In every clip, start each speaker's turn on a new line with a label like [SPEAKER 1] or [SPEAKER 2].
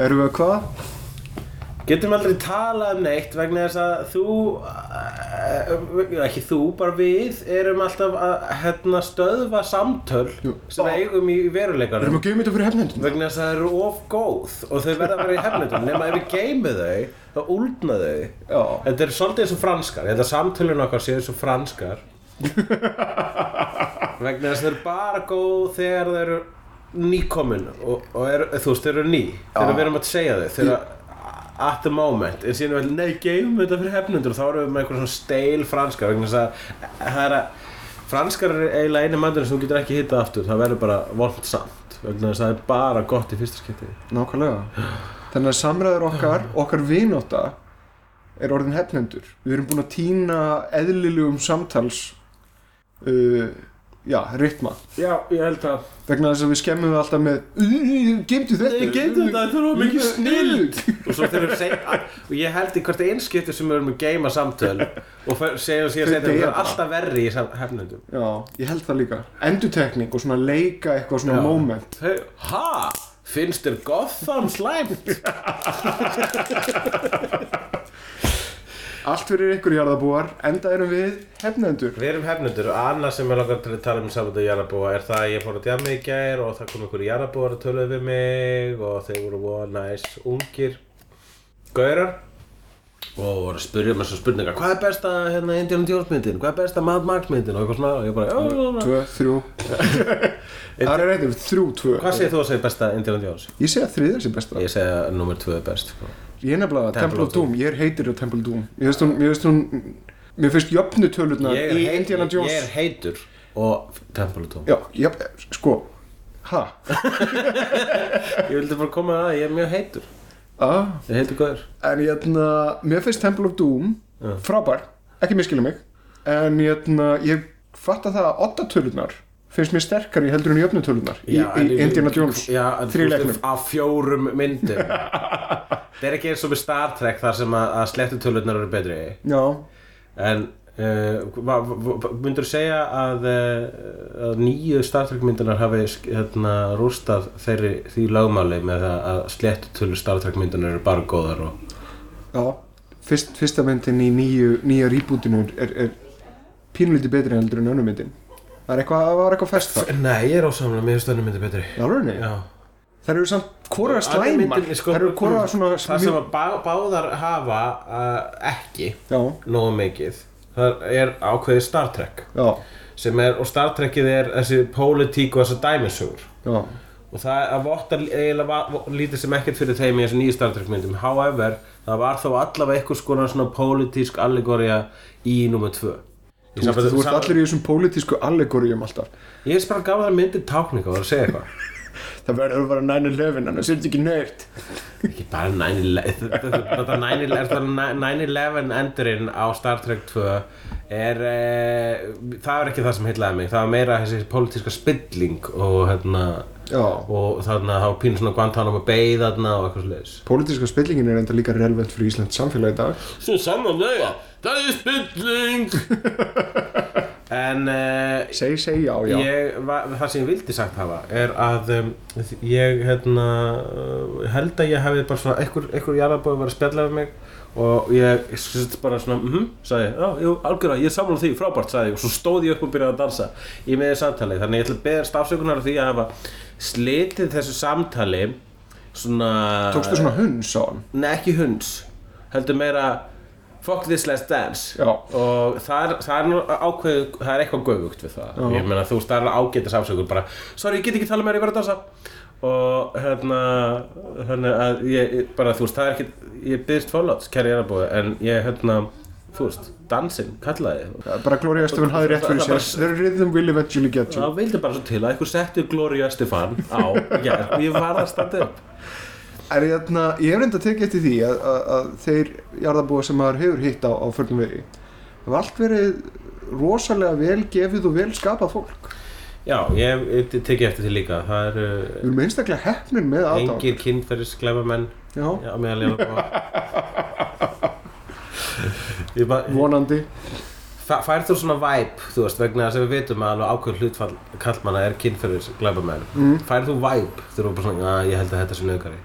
[SPEAKER 1] Erum við að hvað?
[SPEAKER 2] Getum aldrei talað um neitt vegna þess að þú, eh, ekki þú, bara við erum alltaf að hérna, stöðva samtöl
[SPEAKER 1] Jú.
[SPEAKER 2] sem við
[SPEAKER 1] Erum
[SPEAKER 2] eigum í
[SPEAKER 1] við
[SPEAKER 2] veruleikanum
[SPEAKER 1] að gefa þetta fyrir hefnendun?
[SPEAKER 2] vegna þess að það eru of góð og þau verða að vera í hefnindum nema ef við geymum þau, þá úlna þau.
[SPEAKER 1] Já.
[SPEAKER 2] Þetta er svolítið eins og franskar, þetta samtölun okkar séu eins og franskar vegna þess að þau eru bara góð þegar þau eru nýkomin og, og er, þú veist, þau eru ný þegar við erum að segja þau þegar at the moment, en síðan vel, nei, geymum þetta fyrir hefnundur og þá erum við með einhver svona steil franskar vegna þess að það er að franskar er eiginlega einu mandurinn sem þú getur ekki hitta aftur, það verður bara vond samt vegna þess að það er bara gott í fyrsta skipti
[SPEAKER 1] Nákvæmlega. Þannig að samræður okkar, okkar vinóta, er orðin hefnendur. Við erum búin að týna eðlilegum samtals, uh, já, ritma.
[SPEAKER 2] Já, ég held að
[SPEAKER 1] Vegna þess að við skemmum við alltaf með, gemdu þetta.
[SPEAKER 2] Ég getur þetta, þetta var mikið snild
[SPEAKER 1] Ú,
[SPEAKER 2] Og svo þegar við segja Og ég held í hvert einskipti sem við erum að geima samtöl Og fer- segja
[SPEAKER 1] Þau
[SPEAKER 2] og segja segja þetta
[SPEAKER 1] deyja
[SPEAKER 2] er alltaf verri í sam- hefnendum
[SPEAKER 1] Já, ég held það líka. Endutekning og svona leika eitthvað svona
[SPEAKER 2] Já.
[SPEAKER 1] moment.
[SPEAKER 2] Þau, ha, finnst þér Gotham slæmt?
[SPEAKER 1] Allt fyrir ykkur jarðabúar, enda erum við hefnendur.
[SPEAKER 2] Við erum hefnendur og annað sem ég langar til að tala um saman á Jarabúa er það að ég fór að djama í gær og það kom einhverju Jarabúar að töluðu við mig og þeir voru voða næs ungir gaurar og voru að spyrja mér svo spurningar hvað er besta hérna Indiana Jones myndin, hvað er besta Mad Max myndin og eitthvað svona og ég bara "Já, já, já."
[SPEAKER 1] Tvö, þrjú. Það er reyndum, þrjú, tvö.
[SPEAKER 2] Hvað segir þú að segja besta Indiana Jones?
[SPEAKER 1] Ég segi að þriðja sé besta.
[SPEAKER 2] Ég segja að nummer 2 er best sko.
[SPEAKER 1] Ég er nefnilega
[SPEAKER 2] Temple
[SPEAKER 1] Temple
[SPEAKER 2] of
[SPEAKER 1] of Doom, ég er heitir á Temple of Doom Mér finnst hún, mér finnst hún Mér finnst jöfnu tölurnar
[SPEAKER 2] ég, er
[SPEAKER 1] í
[SPEAKER 2] heit-
[SPEAKER 1] Indiana Jones
[SPEAKER 2] ég er heitur og Temple of Doom
[SPEAKER 1] Já, jöfn, sko Ha?
[SPEAKER 2] Ég vildi bara koma að það, ég er mjög heitur
[SPEAKER 1] Ah,
[SPEAKER 2] Ég er heitur góður
[SPEAKER 1] en jæna, mér finnst Temple of Doom frábær, ekki miskilum mig en jæna, ég fatta það að otta tölurnar finnst mér sterkari heldur en jöfnu tölurnar í,
[SPEAKER 2] Já, en
[SPEAKER 1] í Indiana Jones
[SPEAKER 2] Já, en þú
[SPEAKER 1] þríleiknum.
[SPEAKER 2] veist, af fjórum myndum Það er ekki eins og með Star Trek þar sem að, að slettutölunar eru betri
[SPEAKER 1] Já,
[SPEAKER 2] En uh, myndur segja að, uh, að nýju Star Trek myndunar hafi sk- hérna, rústað þeirri því lögmáli með það að slettutölu Star Trek myndunar eru bara góðar og
[SPEAKER 1] já Fyrst, Fyrsta myndin í nýju, nýja rebootinu er, er pínlítið betri heldur en önnu myndin Það er eitthvað, það var eitthvað fest það
[SPEAKER 2] Nei, ég er ósamlega, mér finnst önnur myndi betri
[SPEAKER 1] Já, raunni?
[SPEAKER 2] Já
[SPEAKER 1] Það eru samt hvora slæmar
[SPEAKER 2] Myndin, sko,
[SPEAKER 1] Það eru hvora svona
[SPEAKER 2] Það sem að bá, báðar hafa uh, ekki
[SPEAKER 1] Já,
[SPEAKER 2] nógu mikið Það er ákveðið Star Trek
[SPEAKER 1] já,
[SPEAKER 2] sem er, og Star Trekið er þessi pólitík og þessar dæmisugur
[SPEAKER 1] já
[SPEAKER 2] og það að votta eiginlega va- lítið sem ekkert fyrir þeim í þessum nýju Star Trek myndum however, það var þó allavega einhvers konar svona pólitísk allegorja í nummer 2
[SPEAKER 1] Þú veist, þú ert allir í þessum pólitísku allegoríum alltaf
[SPEAKER 2] Ég er bara gaf það myndið tákninga og var að segja eitthvað
[SPEAKER 1] Það verður að vera 9-11, annars er þetta ekki neitt
[SPEAKER 2] ekki bara 9-11 þetta 9-11 er það 9-11 endurinn á Star Trek 2 er e, það var ekki það sem heitlaði mig það var meira þessi pólitíska spilling og hérna
[SPEAKER 1] Já,
[SPEAKER 2] og þannig að það var pínu svona Guantanamo Bay þarna og eitthvað sliðis
[SPEAKER 1] pólitíska spillingin er enda líka relevant fyrir Íslands samfélagi í dag
[SPEAKER 2] sem samanlega, það er spilling en e,
[SPEAKER 1] Segi, segi, já, já
[SPEAKER 2] Ég, va- það sem ég vildi sagt hafa er að um, ég hérna, uh, held að ég hafi bara svona einhver, einhver jarðabóð var að spjalla við mig og ég sett bara svona mhm, sagði, já, jú, algjörlega, ég er sammála því, frábært sagði ég og svo stóð ég upp og byrjaði að dansa í meði samtali, þannig ég ætla að beða stafsökunar því að hafa slitið þessu samtali svona
[SPEAKER 1] Tókstu svona hunds á hann?
[SPEAKER 2] Nei, ekki hunds, heldur meira Fuck this last dance
[SPEAKER 1] já,
[SPEAKER 2] og það er, það er nú ákveð það er eitthvað göfugt við það
[SPEAKER 1] Já.
[SPEAKER 2] ég meina þú veist það er ágætis afsökun bara sorry ég get ekki talað meira ég verð að dansa og hérna hérna að ég ég- bara þú veist það er ekki ég byrðist fóláts kæri ég er að búið en ég hérna þú veist dansinn kallaði
[SPEAKER 1] bara Gloria Estefan hafði rétt fyrir sér The rhythm will eventually get you
[SPEAKER 2] það vildi bara svo til að einhver setti Gloria Estefan á já ég var að standa upp
[SPEAKER 1] Er, jæna, ég hef reynda tekið eftir því að, að, að þeir jarðabúa sem maður hefur hitt á, á förnum vegi hafa allt verið rosalega vel gefið og vel skapað fólk
[SPEAKER 2] já ég, ég tekið eftir því líka það eru
[SPEAKER 1] við erum einstaklega hefnin með
[SPEAKER 2] uh,
[SPEAKER 1] aðdáð
[SPEAKER 2] engir kynferðisglefa menn
[SPEAKER 1] já,
[SPEAKER 2] já meðal ég er ég bara
[SPEAKER 1] vonandi
[SPEAKER 2] Þa, fær þú svona væp, þú veist, vegna þess að við vitum að alveg ákveð hlutfall kallmanna er kynferðis glæbamenn.
[SPEAKER 1] Mm.
[SPEAKER 2] Fær þú væp þegar þú bara svona, að ég held að þetta sé nöðgari.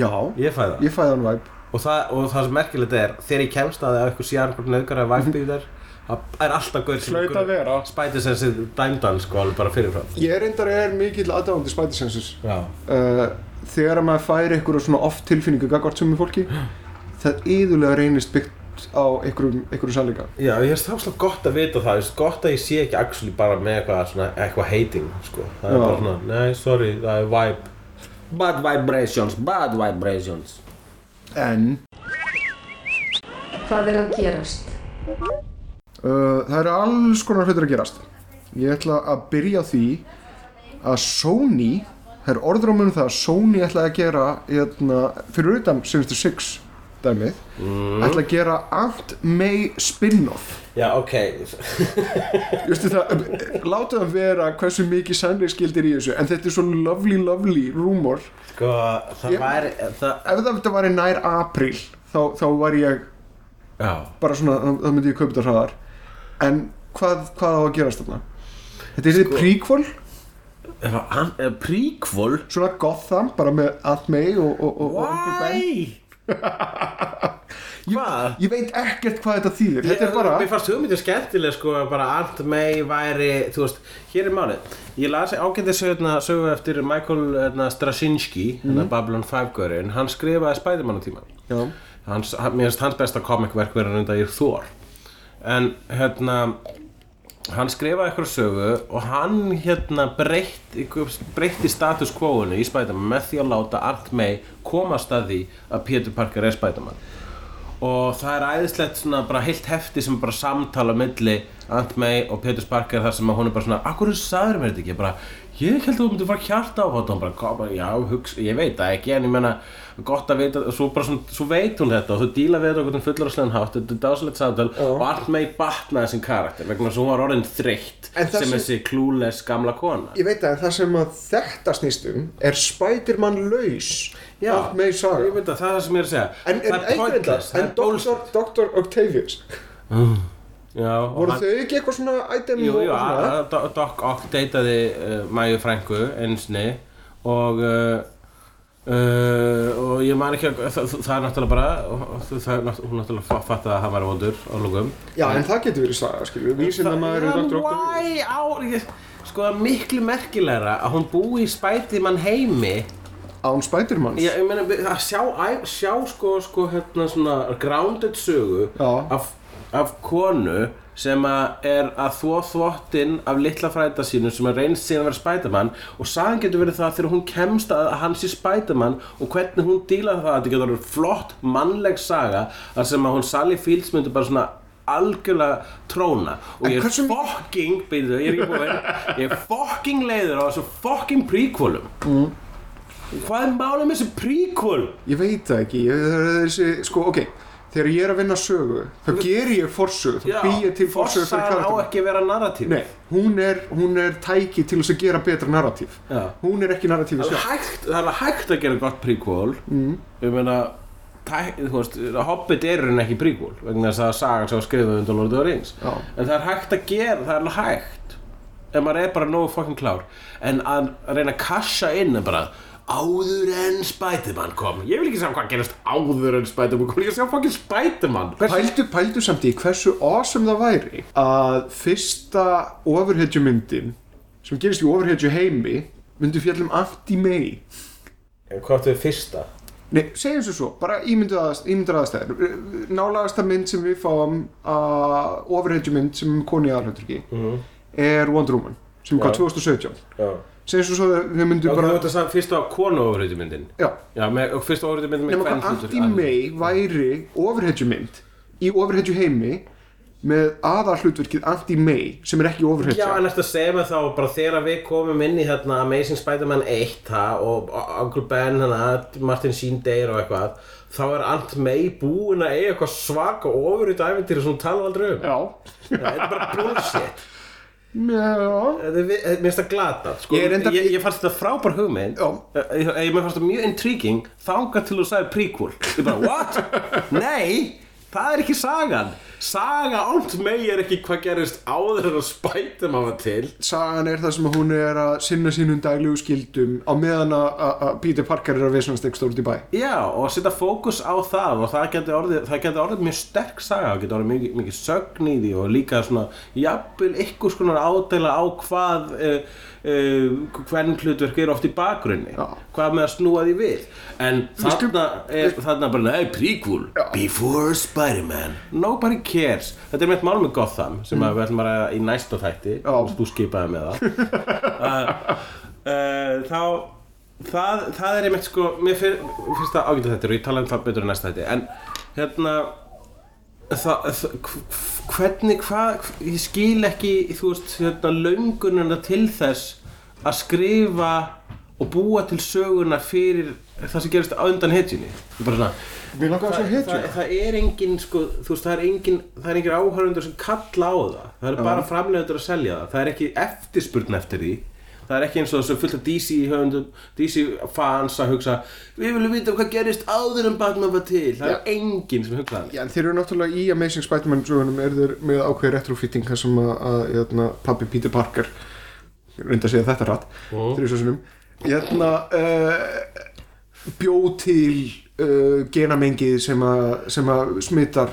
[SPEAKER 1] já,
[SPEAKER 2] Ég fæ það.
[SPEAKER 1] ég fæði hann væp
[SPEAKER 2] Og, það. og það sem merkilegt er, þegar ég kemst að það að eitthvað sé einhvern nöðgari að væpi í þér, það er alltaf gaur sem
[SPEAKER 1] vera
[SPEAKER 2] spæti sem sér dæmdan, sko, alveg bara fyrirfram.
[SPEAKER 1] ég reyndar er mikill aðdáðandi spætisensurs
[SPEAKER 2] Já.
[SPEAKER 1] uh, þegar að maður fær eitthvað svona oft tilfinningu gagvart sumu fólki það yðurlega reynist byggt á einhverjum, einhverjum sannleika
[SPEAKER 2] Já, ég finnst það svona gott að vita það, ég finnst gott að ég sé ekki actually bara með eitthvað, svona, eitthvað hating, sko. Það er
[SPEAKER 1] Já.
[SPEAKER 2] bara svona, nei, sorry, það er væp. Bad vibrations, bad vibrations.
[SPEAKER 1] en
[SPEAKER 3] Hvað er að gerast?
[SPEAKER 1] Uh, það eru alls konar hlutir að gerast. Ég ætla að byrja á því að Sony, það er orðrum um það að Sony ætlaði að gera, hérna, fyrir utan Sinister Six dæmið, ætlaði að gera Ant May spin-off.
[SPEAKER 2] Já, ok,
[SPEAKER 1] Justu það, eh, láta það vera hversu mikið sannleikskildir í þessu, en þetta er svo lovely, lovely rumor.
[SPEAKER 2] Sko, það
[SPEAKER 1] Ég-
[SPEAKER 2] væri, eh, það...
[SPEAKER 1] Ef það væri nær apríl, þá, þá var ég
[SPEAKER 2] Já.
[SPEAKER 1] bara svona, þá- þá myndi ég kaupa þetta hraðar. En hvað, hvað á að gerast þarna? Þetta er
[SPEAKER 2] Sko-
[SPEAKER 1] þetta prequel?
[SPEAKER 2] Er það an- er prequel?
[SPEAKER 1] svona Gotham bara með allt mei og, og, og, og Uncle Ben
[SPEAKER 2] Hvað?
[SPEAKER 1] ég veit ekkert hvað þetta þýðir þetta er
[SPEAKER 2] Mér
[SPEAKER 1] bara,
[SPEAKER 2] fannst hugmyndin skemmtileg sko að bara allt mei væri, þú veist, hér er málið. Ég las ágændið söguna sögu eftir Michael hérna, Straczynski, hérna
[SPEAKER 1] Mhm.
[SPEAKER 2] Babylon 5-görinn, hann skrifaði Spiderman á tíman.
[SPEAKER 1] já,
[SPEAKER 2] Hans, hann- mér finnst hans besta komikverk verið reynda í Thor. En hérna, hann skrifaði eitthvað sögu og hann hérna breytti, breytti status quo-unu í Spiderman með því að láta Art May komast að því að Peter Parker er Spiderman og það er æðislegt svona bara heilt hefti sem er bara samtala á milli Ant May og Peter Parker þar sem að hún er bara svona Akkur sagður mér þetta ekki? Ég Bara, ég held að þú myndir fara hjarta á og hún bara, "Kom, bara, já, hugsa, ég veit það ekki en ég meina, gott að vita svo, bara svona, svo veit hún þetta og þú díla við þetta okkur fullur og slegin hátt, þetta er dásalegt samtal og Ant May batnaði sem karakter vegna þess að hún var orðin þreytt
[SPEAKER 1] En það
[SPEAKER 2] sem
[SPEAKER 1] sem-
[SPEAKER 2] þessi klúles gamla kona
[SPEAKER 1] ég veit að það sem að þetta snýst um er Spiderman laus allt mei
[SPEAKER 2] ég
[SPEAKER 1] saga
[SPEAKER 2] veit að það er það sem ég er að segja
[SPEAKER 1] en, en,
[SPEAKER 2] það er pointless, það
[SPEAKER 1] en
[SPEAKER 2] er
[SPEAKER 1] Dr.
[SPEAKER 2] bullshit.
[SPEAKER 1] Dr. Octavius
[SPEAKER 2] Já, og
[SPEAKER 1] voru
[SPEAKER 2] hann-
[SPEAKER 1] þau ekki eitthvað svona item
[SPEAKER 2] Jú,
[SPEAKER 1] og
[SPEAKER 2] jú,
[SPEAKER 1] svona?
[SPEAKER 2] að- að Do- Doc Ock deytaði uh, Mæju frængu einsni og uh, uh, og ég man ekki að, það, það er náttúrulega bara það, það er náttúrulega, hún náttúrulega fa- fattaði að hann var vondur á lókum
[SPEAKER 1] já, en það getur verið saga, skilju vísinn að maður er Dr. Octavius
[SPEAKER 2] Why á ég- Sko það er miklu merkilegra að hún búi í spætið mann heimi
[SPEAKER 1] án Spidermans
[SPEAKER 2] Ég, ég meina við- að sjá, æ- sjá sko, sko hérna svona grounded sögu
[SPEAKER 1] Já.
[SPEAKER 2] af, af konu sem að er að þvó þvottinn af litla frænda sínum sem er reynst síðan að vera spædamann og sagan getur verið það þegar hún kemst að að hann sé spædamann og hvernig hún dílar það að þetta getur verið flott mannleg saga þar sem að hún Sally Fields myndi bara svona algjörlega tróna og
[SPEAKER 1] En
[SPEAKER 2] ég er
[SPEAKER 1] hversu mikið-
[SPEAKER 2] fucking byrðu, ég er ekki búin að- ég er fucking leiður á þessu fucking prequelum
[SPEAKER 1] Mm.
[SPEAKER 2] Hvað er málið með þessi prequel?
[SPEAKER 1] Ég veit það ekki, ég, það er þessi, sko, ok, þegar ég er að vinna sögu, þá ger ég forsögu, þá bý ég til forsögu fyrir
[SPEAKER 2] Forsagan á
[SPEAKER 1] karakterinn.
[SPEAKER 2] ekki að vera narratív
[SPEAKER 1] Nei, hún er, hún er tæki til þess að gera betra narratív.
[SPEAKER 2] Já.
[SPEAKER 1] Hún er ekki narratífi
[SPEAKER 2] Það er
[SPEAKER 1] sjálf.
[SPEAKER 2] hægt, það er alveg hægt að gera gott prequel mm. Ég meina tæk- þú veist, Hobbit er en ekki prequel vegna þess að sagan sem var skrifað undan Lord of the Rings
[SPEAKER 1] Já.
[SPEAKER 2] en það er hægt að gera, það er alveg hægt ef maður er bara nógu fucking klár en að reyna að kassa inn er bara áður en Spiderman kom ég vil ekki sjá hvað gerist áður en Spiderman kom ég vil ekki sjá fucking Spiderman Hvers-
[SPEAKER 1] Pældu, pældu samt í hversu awesome það væri að fyrsta ofurhetjumyndin sem um gerist í ofurhetju heimi myndi fjallum allt í mei.
[SPEAKER 2] Hvað áttu við fyrsta?
[SPEAKER 1] Nei, segjum sem svo, bara ímyndur aðstæður Nálaðasta mynd sem við fáum að ofurheitjumynd sem koni aðalhauturki
[SPEAKER 2] Mhm.
[SPEAKER 1] er Wonder Woman sem kom
[SPEAKER 2] Já.
[SPEAKER 1] 2017
[SPEAKER 2] Já.
[SPEAKER 1] Segjum sem svo að við
[SPEAKER 2] Já,
[SPEAKER 1] myndum
[SPEAKER 2] þú
[SPEAKER 1] bara
[SPEAKER 2] veist að sagði fyrst á konu ofurhautumyndin
[SPEAKER 1] Já,
[SPEAKER 2] Já, með, og fyrst ofurhautumyndin með
[SPEAKER 1] nema hvað
[SPEAKER 2] kvenhlutverk.
[SPEAKER 1] Andy May væri ofurheitjumynd í ofurheitju heimi með aðalhlutverkið Andy May sem er ekki
[SPEAKER 2] Já,
[SPEAKER 1] ofurheitja
[SPEAKER 2] en eftir að segja mig þá bara þegar við komum inn í þarna Amazing Spider-Man 1 ha, og Uncle Ben, hana, Martin Sheen Deir og eitthvað þá er Aunt May búin að eiga eitthvað svaka ofurut æfintýri sem hún tala aldrei um
[SPEAKER 1] Já,
[SPEAKER 2] Þetta er bara bullshit
[SPEAKER 1] já
[SPEAKER 2] Þetta er vi- þetta- Mér finnst það glata sko.
[SPEAKER 1] Ég
[SPEAKER 2] ég,
[SPEAKER 1] er enda-
[SPEAKER 2] ég, fannst þetta frábær hugmynd
[SPEAKER 1] Já.
[SPEAKER 2] Ég- ég, ég, Mér fannst það mjög intriguing þangað til þú sagði prequel Ég bara, what? Nei, það er ekki sagan Saga Aunt May er ekki hvað gerist áður en að spæta maður til
[SPEAKER 1] Sagan er það sem hún er að sinna sínum daglegu skildum á meðan að- að að Peter Parker er að visnast ekki stórt í bæ
[SPEAKER 2] Já, og setja fókus á það og það geti orðið, það geti orðið mjög sterk saga það geti orðið mikið, mikið sögn í því og líka svona, jafnvel ykkur skonar ádela á hvað uh, uh, hvern hlutverk er oft í bakgrunni
[SPEAKER 1] Já.
[SPEAKER 2] hvað með að snúa því við en
[SPEAKER 1] skulum-
[SPEAKER 2] þarna, er, þarna bara, nei, prequel Before Spider-Man Nobody cares Þetta er meitt mál með Gotham sem að við ætlum að ræða í næsta þætti
[SPEAKER 1] Já.
[SPEAKER 2] og þú skipaði með það uh, þá það, það er einmitt sko mér fyr, finnst það ágæta þetta og ég tala um það betur í næsta þetta en hérna það, það, hv- hvernig hvað ég skil ekki þú veist hérna löngununa til þess að skrifa og búa til söguna fyrir það sem gerist á undan hetjunni Ég bara svona
[SPEAKER 1] Mér langar að sjá hetju
[SPEAKER 2] það, það er engin sko, þú veist, það er engin það er engin áhörundur sem kalla á það það eru bara framlegendur að selja það það er ekki eftirspurn eftir því það er ekki eins og þessu fullt af DC höfundum DC fans að hugsa við viljum vita hvað gerist áður en Batman var til það er enginn sem hugsa það
[SPEAKER 1] Já, en þeir eru náttúrulega í Amazing Spider-Man sögunum er þeir með ákveði retrofitting þar sem að, að jæna, pappi Peter Parker reynda að segja þetta rætt mm. þeir eru svo sinum jæna, uh, bjó til uh, genamengið sem, að, sem að smittar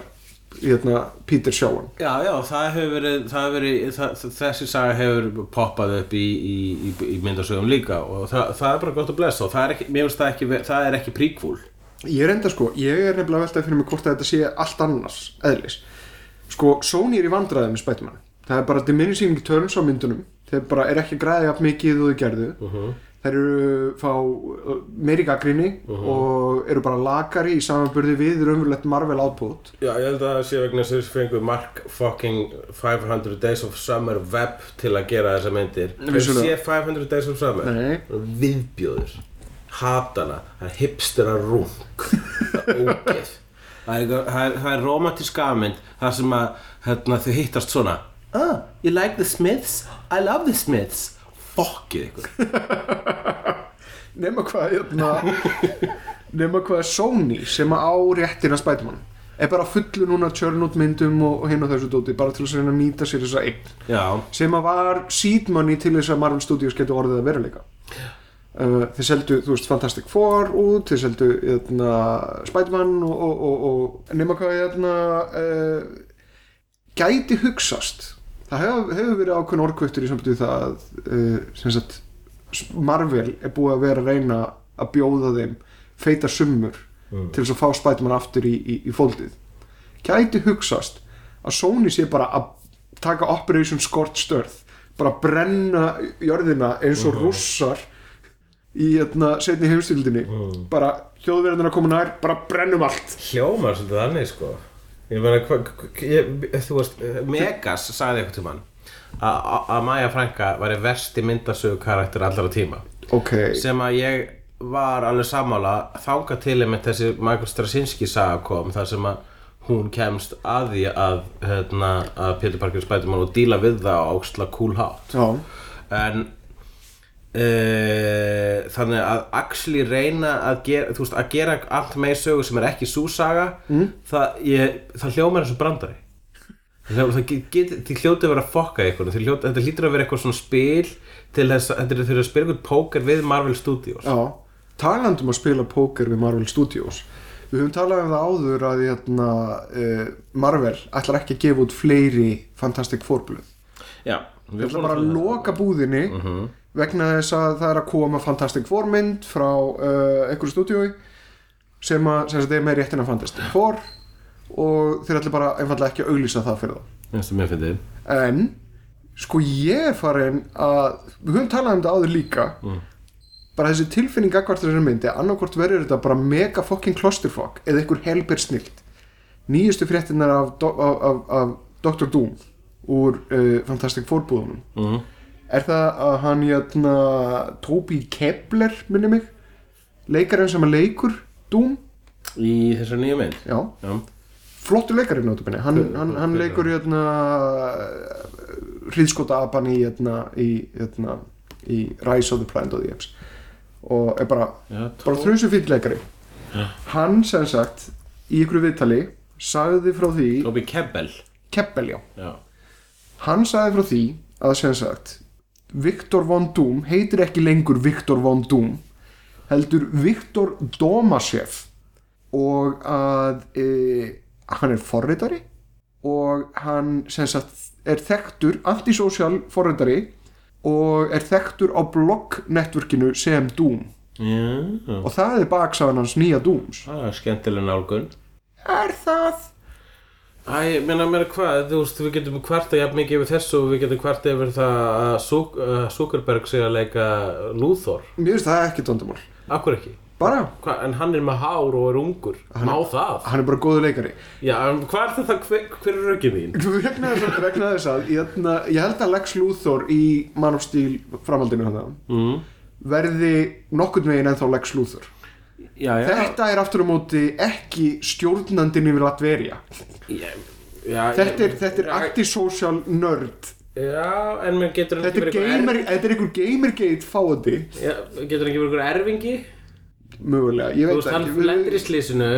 [SPEAKER 1] jæna, Peter sjáan
[SPEAKER 2] já, já, það hefur verið, það hefur verið það, þessi saga hefur poppað upp í, í, í, í myndasögum líka og það, það er bara gott að blessa og það er ekki, mér finnst það ekki, ver- það er ekki prequel
[SPEAKER 1] Ég reynda sko, ég er nefnilega veltað fyrir mig hvort að þetta sé allt annars eðlis Sko, Sony er í vandræði með Spiderman Það er bara diminishing returns á myndunum Þeir bara er ekki græðið af mikið og þau gerðu Þeir eru fá uh, meiri gaggrinni og eru bara lakari í samanburði við raunverulegt Marvel output
[SPEAKER 2] Já, ég held að það sé vegna sem þessu fengu Mark fucking 500 Days of Summer web til að gera þessa myndir Hefur
[SPEAKER 1] vissulega.
[SPEAKER 2] sé 500 Days of Summer?
[SPEAKER 1] Nei.
[SPEAKER 2] Viðbjóður Hatana, það er hipstera rung Það er ógeð Það er, eitthvað- það er, það er romantísk afmynd þar sem að hérna, þau hittast svona Ah, you like the Smiths? I love the Smiths Fokkið ykkur
[SPEAKER 1] Nefna hvað, hérna Nefna hvað Sony sem á réttina Spiderman Er bara fullu núna tjörnút myndum og, og hinn og þessu dóti Bara til þess að reyna að nýta sér þessa eign
[SPEAKER 2] Já,
[SPEAKER 1] sem að var seed money til þess að Marvel Studios getur orðið að veruleika uh, þeir seldu, þú veist, Fantastic Four út, þeir seldu eitna, Spiderman og, og, og, og nema hvað eitna, uh, gæti hugsast það hefur hef verið ákveðin orkvöttur í samtöðu það að uh, sem sagt, Marvel er búið að vera að reyna að bjóða þeim feita summur til þess að fá Spiderman aftur í, í, í fóldið gæti hugsast að Sony sé bara að taka Operation Scorched Earth bara brenna jörðina eins og rússar í hérna, setni heimstildinni bara þjóðverðina koma nær bara brennum allt
[SPEAKER 2] hljómar svolítið þannig sko ég meina hva, hva, ég, þú eh, veist Megas sagði eitthvað til mann að Maja Franka væri versti myndasögu karakter allra tíma
[SPEAKER 1] ok,
[SPEAKER 2] sem að ég var alveg sammála þanga til einmitt þessi Michael Straczynski saga kom þar sem að hún kemst að því að, hérna, að Pétur Parker spætumann og díla við það á óksla cool hát
[SPEAKER 1] já,
[SPEAKER 2] en Uh, þannig að actually reyna að gera, þú veist, að gera allt með sögu sem er ekki súsaga mm. það, ég, það hljómar eins og brandari það, hljómar- það get, get, þið hljótið að vera að fokka ykkur þið hljótið, þetta hlýtur að vera eitthvað svona spil til þess, þetta er þurfið að spila eitthvað póker við Marvel Studios
[SPEAKER 1] já talandum að spila póker við Marvel Studios við höfum talað um það áður að hérna, uh, Marvel ætlar ekki að gefa út fleiri Fantastic Four blöð
[SPEAKER 2] já,
[SPEAKER 1] Við ætlum bara að Mhm. loka búðinni vegna þess að það er að koma Fantastic Four mynd frá uh, einhverju stúdíói sem að sem þetta er með réttin að fandist for og þeir ætli bara einfallega ekki að auglýsa það fyrir þá
[SPEAKER 2] Mér finnst það mér fyndið.
[SPEAKER 1] en sko ég er farin að við höfum talað um þetta áður líka bara þessi tilfinning akkvart þessari myndi annarkvort verður þetta bara mega fucking klosterfokk eða einhver helber snilt nýjustu fréttinnar af, Do- af, af, af Dr. Doom úr uh, Fantastic Four búðunum
[SPEAKER 2] Mm.
[SPEAKER 1] er það að hann jæna, Toby Kepler minni mig leikarinn sem að leikur Doom
[SPEAKER 2] Í þessari nýju mynd.
[SPEAKER 1] já,
[SPEAKER 2] Já.
[SPEAKER 1] flottu leikarinn notabene hann,
[SPEAKER 2] Hver-
[SPEAKER 1] hann, hann
[SPEAKER 2] hver er
[SPEAKER 1] leikur jæna, hríðskota apan í, jæna, í, jæna, í Rise of the Planet of the Apes og er bara,
[SPEAKER 2] Já,
[SPEAKER 1] bara þrjusu fýll leikari hann sem sagt í ykkur viðtali sagði frá því
[SPEAKER 2] Tobi Kebbel.
[SPEAKER 1] Keppel já
[SPEAKER 2] Já.
[SPEAKER 1] Hann sagði frá því að sem sagt Viktor von Doom heitir ekki lengur Viktor von Doom heldur Viktor Domashev og að e, hann er forritari og hann sem sagt er þekktur antisocial forritari og er þekktur á blogg-networkinu sem Doom
[SPEAKER 2] Já.
[SPEAKER 1] og það er baksaðan hans nýja Dooms
[SPEAKER 2] Það er skemmtileg nálgun.
[SPEAKER 1] Er það?
[SPEAKER 2] Æ, ég meina meira hvað, þú veist, við getum kvarta jafn mikið yfir þessu og við getum kvarta yfir það að Zuck- að Zuckerberg sé að leika Luthor.
[SPEAKER 1] Mér finnst það ekki tóndamál
[SPEAKER 2] Akkur ekki?
[SPEAKER 1] bara,
[SPEAKER 2] Hva, en hann er með hár og er ungur. Má það?
[SPEAKER 1] hann er bara góðu leikari
[SPEAKER 2] Já, en hvað er þetta, hver, hver er röggið þín?
[SPEAKER 1] vegna þess, vegna þess að ég, ég held að Lex Luthor í Man of Steel framhaldinu hann
[SPEAKER 2] Mm.
[SPEAKER 1] verði nokkurn veginn ennþá Lex Luthor
[SPEAKER 2] Já, já.
[SPEAKER 1] þetta er aftur á móti ekki stjórnandin yfir Latveria
[SPEAKER 2] Já, já,
[SPEAKER 1] þetta er,
[SPEAKER 2] ég-
[SPEAKER 1] þetta er antisocial nerd
[SPEAKER 2] Já, en mér getur hann
[SPEAKER 1] þetta
[SPEAKER 2] ekki
[SPEAKER 1] er,
[SPEAKER 2] verið einhver
[SPEAKER 1] gamer, þetta er einhver gamergate fáandi
[SPEAKER 2] erf- Já, getur hann ekki verið einhver erfingi
[SPEAKER 1] mögulega, ég
[SPEAKER 2] Þú
[SPEAKER 1] veit
[SPEAKER 2] veist, hann
[SPEAKER 1] ekki við-
[SPEAKER 2] lendir í slísinu